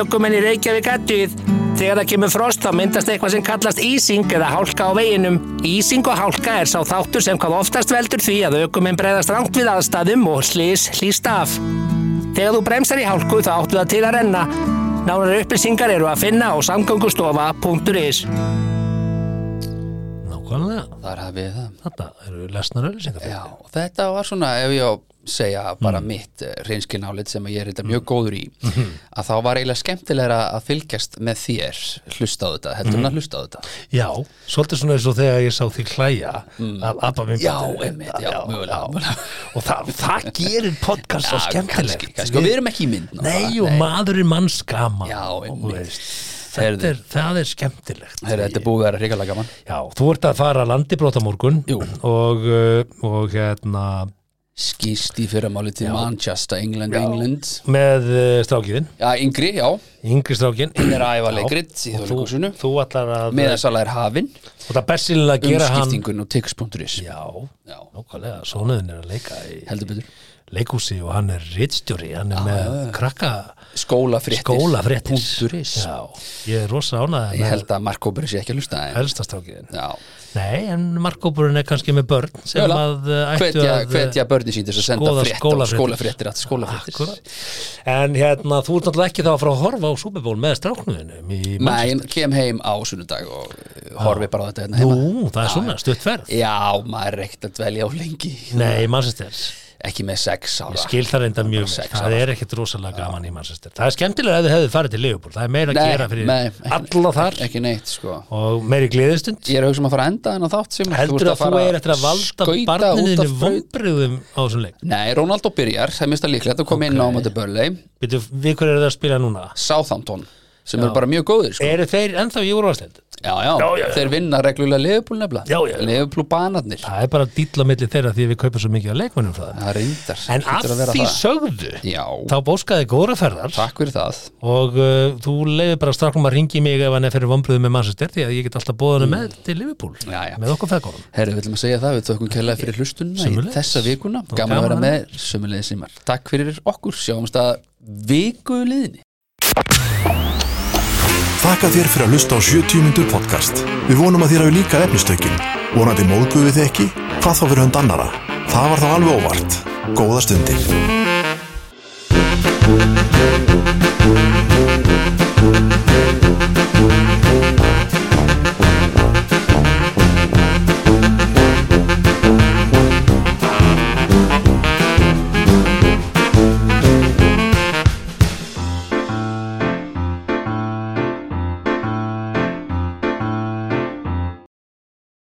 Ökumenn í Reykjavík aðduð. Þegar það kemur frost þá myndast eitthvað sem kallast ísing eða hálka á veginum. Ísing og hálka er sá þáttur sem hvað oftast veldur því að ökumenn breyðast rangt við aðstæðum og slís hlýst af. Þegar þú bremsar í hálku þá áttu það til að renna. Nánar upplýsingar eru að finna á samgöngustofa.is Nákvæmlega. Þar hafið við það. Þetta eru lesnar öllisengar Já, og þetta var svona, ef ég á að segja bara Mm. mitt reynskiln álit sem ég er þetta mjög góður í, Mhm. að þá var eiginlega skemmtilega að fylgjast með þér hlusta á þetta, heldur Mhm. hún að hlusta á þetta Já, svolítið svona eins og þegar ég sá því hlæja að Abba minn Mm. Já, einmitt, já, mögulega, mögulega. og það, það gerir podcast svo Já, skemmtilegt kannski, kannski, og við erum ekki í mynd náttúrulega. Nei, og maður er manns gaman Já, og þú einmitt. veist, Heyrðu. þetta er, það er skemmtilegt Heyrðu, Þetta er búið að vera hrikalega gaman Já, þú ert að fara að landi brota morgun Jú. og, uh, og hérna Skýst í fyrramáli til Manchester, England, England með uh, strákiðin, Já, yngri, já, yngri strákin hún er að æfa Já. leikrit í og þú, þjóðleikúsinu þú allar að Meðansala er hafin, og það er bestilega að gera hann umskiptingun og tix.is Já, Já, nákvæmlega, sonuðin er að leika í heldur betur leikhúsi og hann er rittstjóri, hann Ah, er með krakka Skólafréttir skólafréttir Punktur is. Já, ég er rosa ánæði Ég held að Marko Börs ég ekki að hlusta en- elstastrákiðin Já, Nei, en markópurinn er kannski með börn sem Jöla. að uh, ættu hvetja, að hvetja börni sín til þess að senda skoða frétt á skólafréttir. skólafréttir að skólafréttir Akkúrat. En hérna, þú ert náttúrulega ekki þá að fara að horfa á Super Bowl með stráknuðinum í Nei, Manchester. en kem heim á sunnudag og uh, horfi bara á þetta hérna heima Nú, það er svona, stutt ferð Já, maður er ekkert að dvelja á lengi Nei, Manchester, Ekki með sex ára ég skil það reynda mjög vel. sex það ára. er ekkit rosalega gaman í Manchester Það er skemmtilega ef þið hefðu farið til Liverpool Það er meira að gera fyrir ekki- alla þar Ekki neitt, sko og meiri gleðistund Ég er að hugsa um að fara að enda en á þátt sem heldur að þú er eftir að valda barniðinu vombriðum á þessum leik Nei, Ronaldo byrjar, það er mista líklegt að koma inn á Mati Börlei, Býtu, við hverju eru það að spila núna? Southampton sem eru bara mjög góðir sko. Eru þeir ennþá í úrvarsleild? já, já, þeir vinna reglulega Liverpool Já, já, nefnilega, já. Liverpool banarnir Það er bara dýll á milli þeirra því að við kaupum svo mikið á leikmönnum frá þeim Það reyndar En hlýtur að því sögðu Já, þá bóskaði góðra ferðar takk fyrir það og uh, þú leiði bara strákum að ringi mig ef hann er fyrir vombriðum með Manchester því að ég get alltaf bóðan mm. með til Liverpool Já, já. með okkur feðgóðum Herri, við viljum að segja það, við tökum kjærlega fyrir hlustunna í Sömuleiðis. þessa vikuna, Og gaman að vera gaman. með sömulegis símar. Takk fyrir okkur, sjáumst að viku liðinni Þakka þér fyrir að hlusta á 70 mínútur podcast. Við vonum að þér hafi líka efnistökin. Vonandi móðguðu þið ekki? Hvað þá fyrir hund annara? Það var þá alveg óvart. Góða stundir.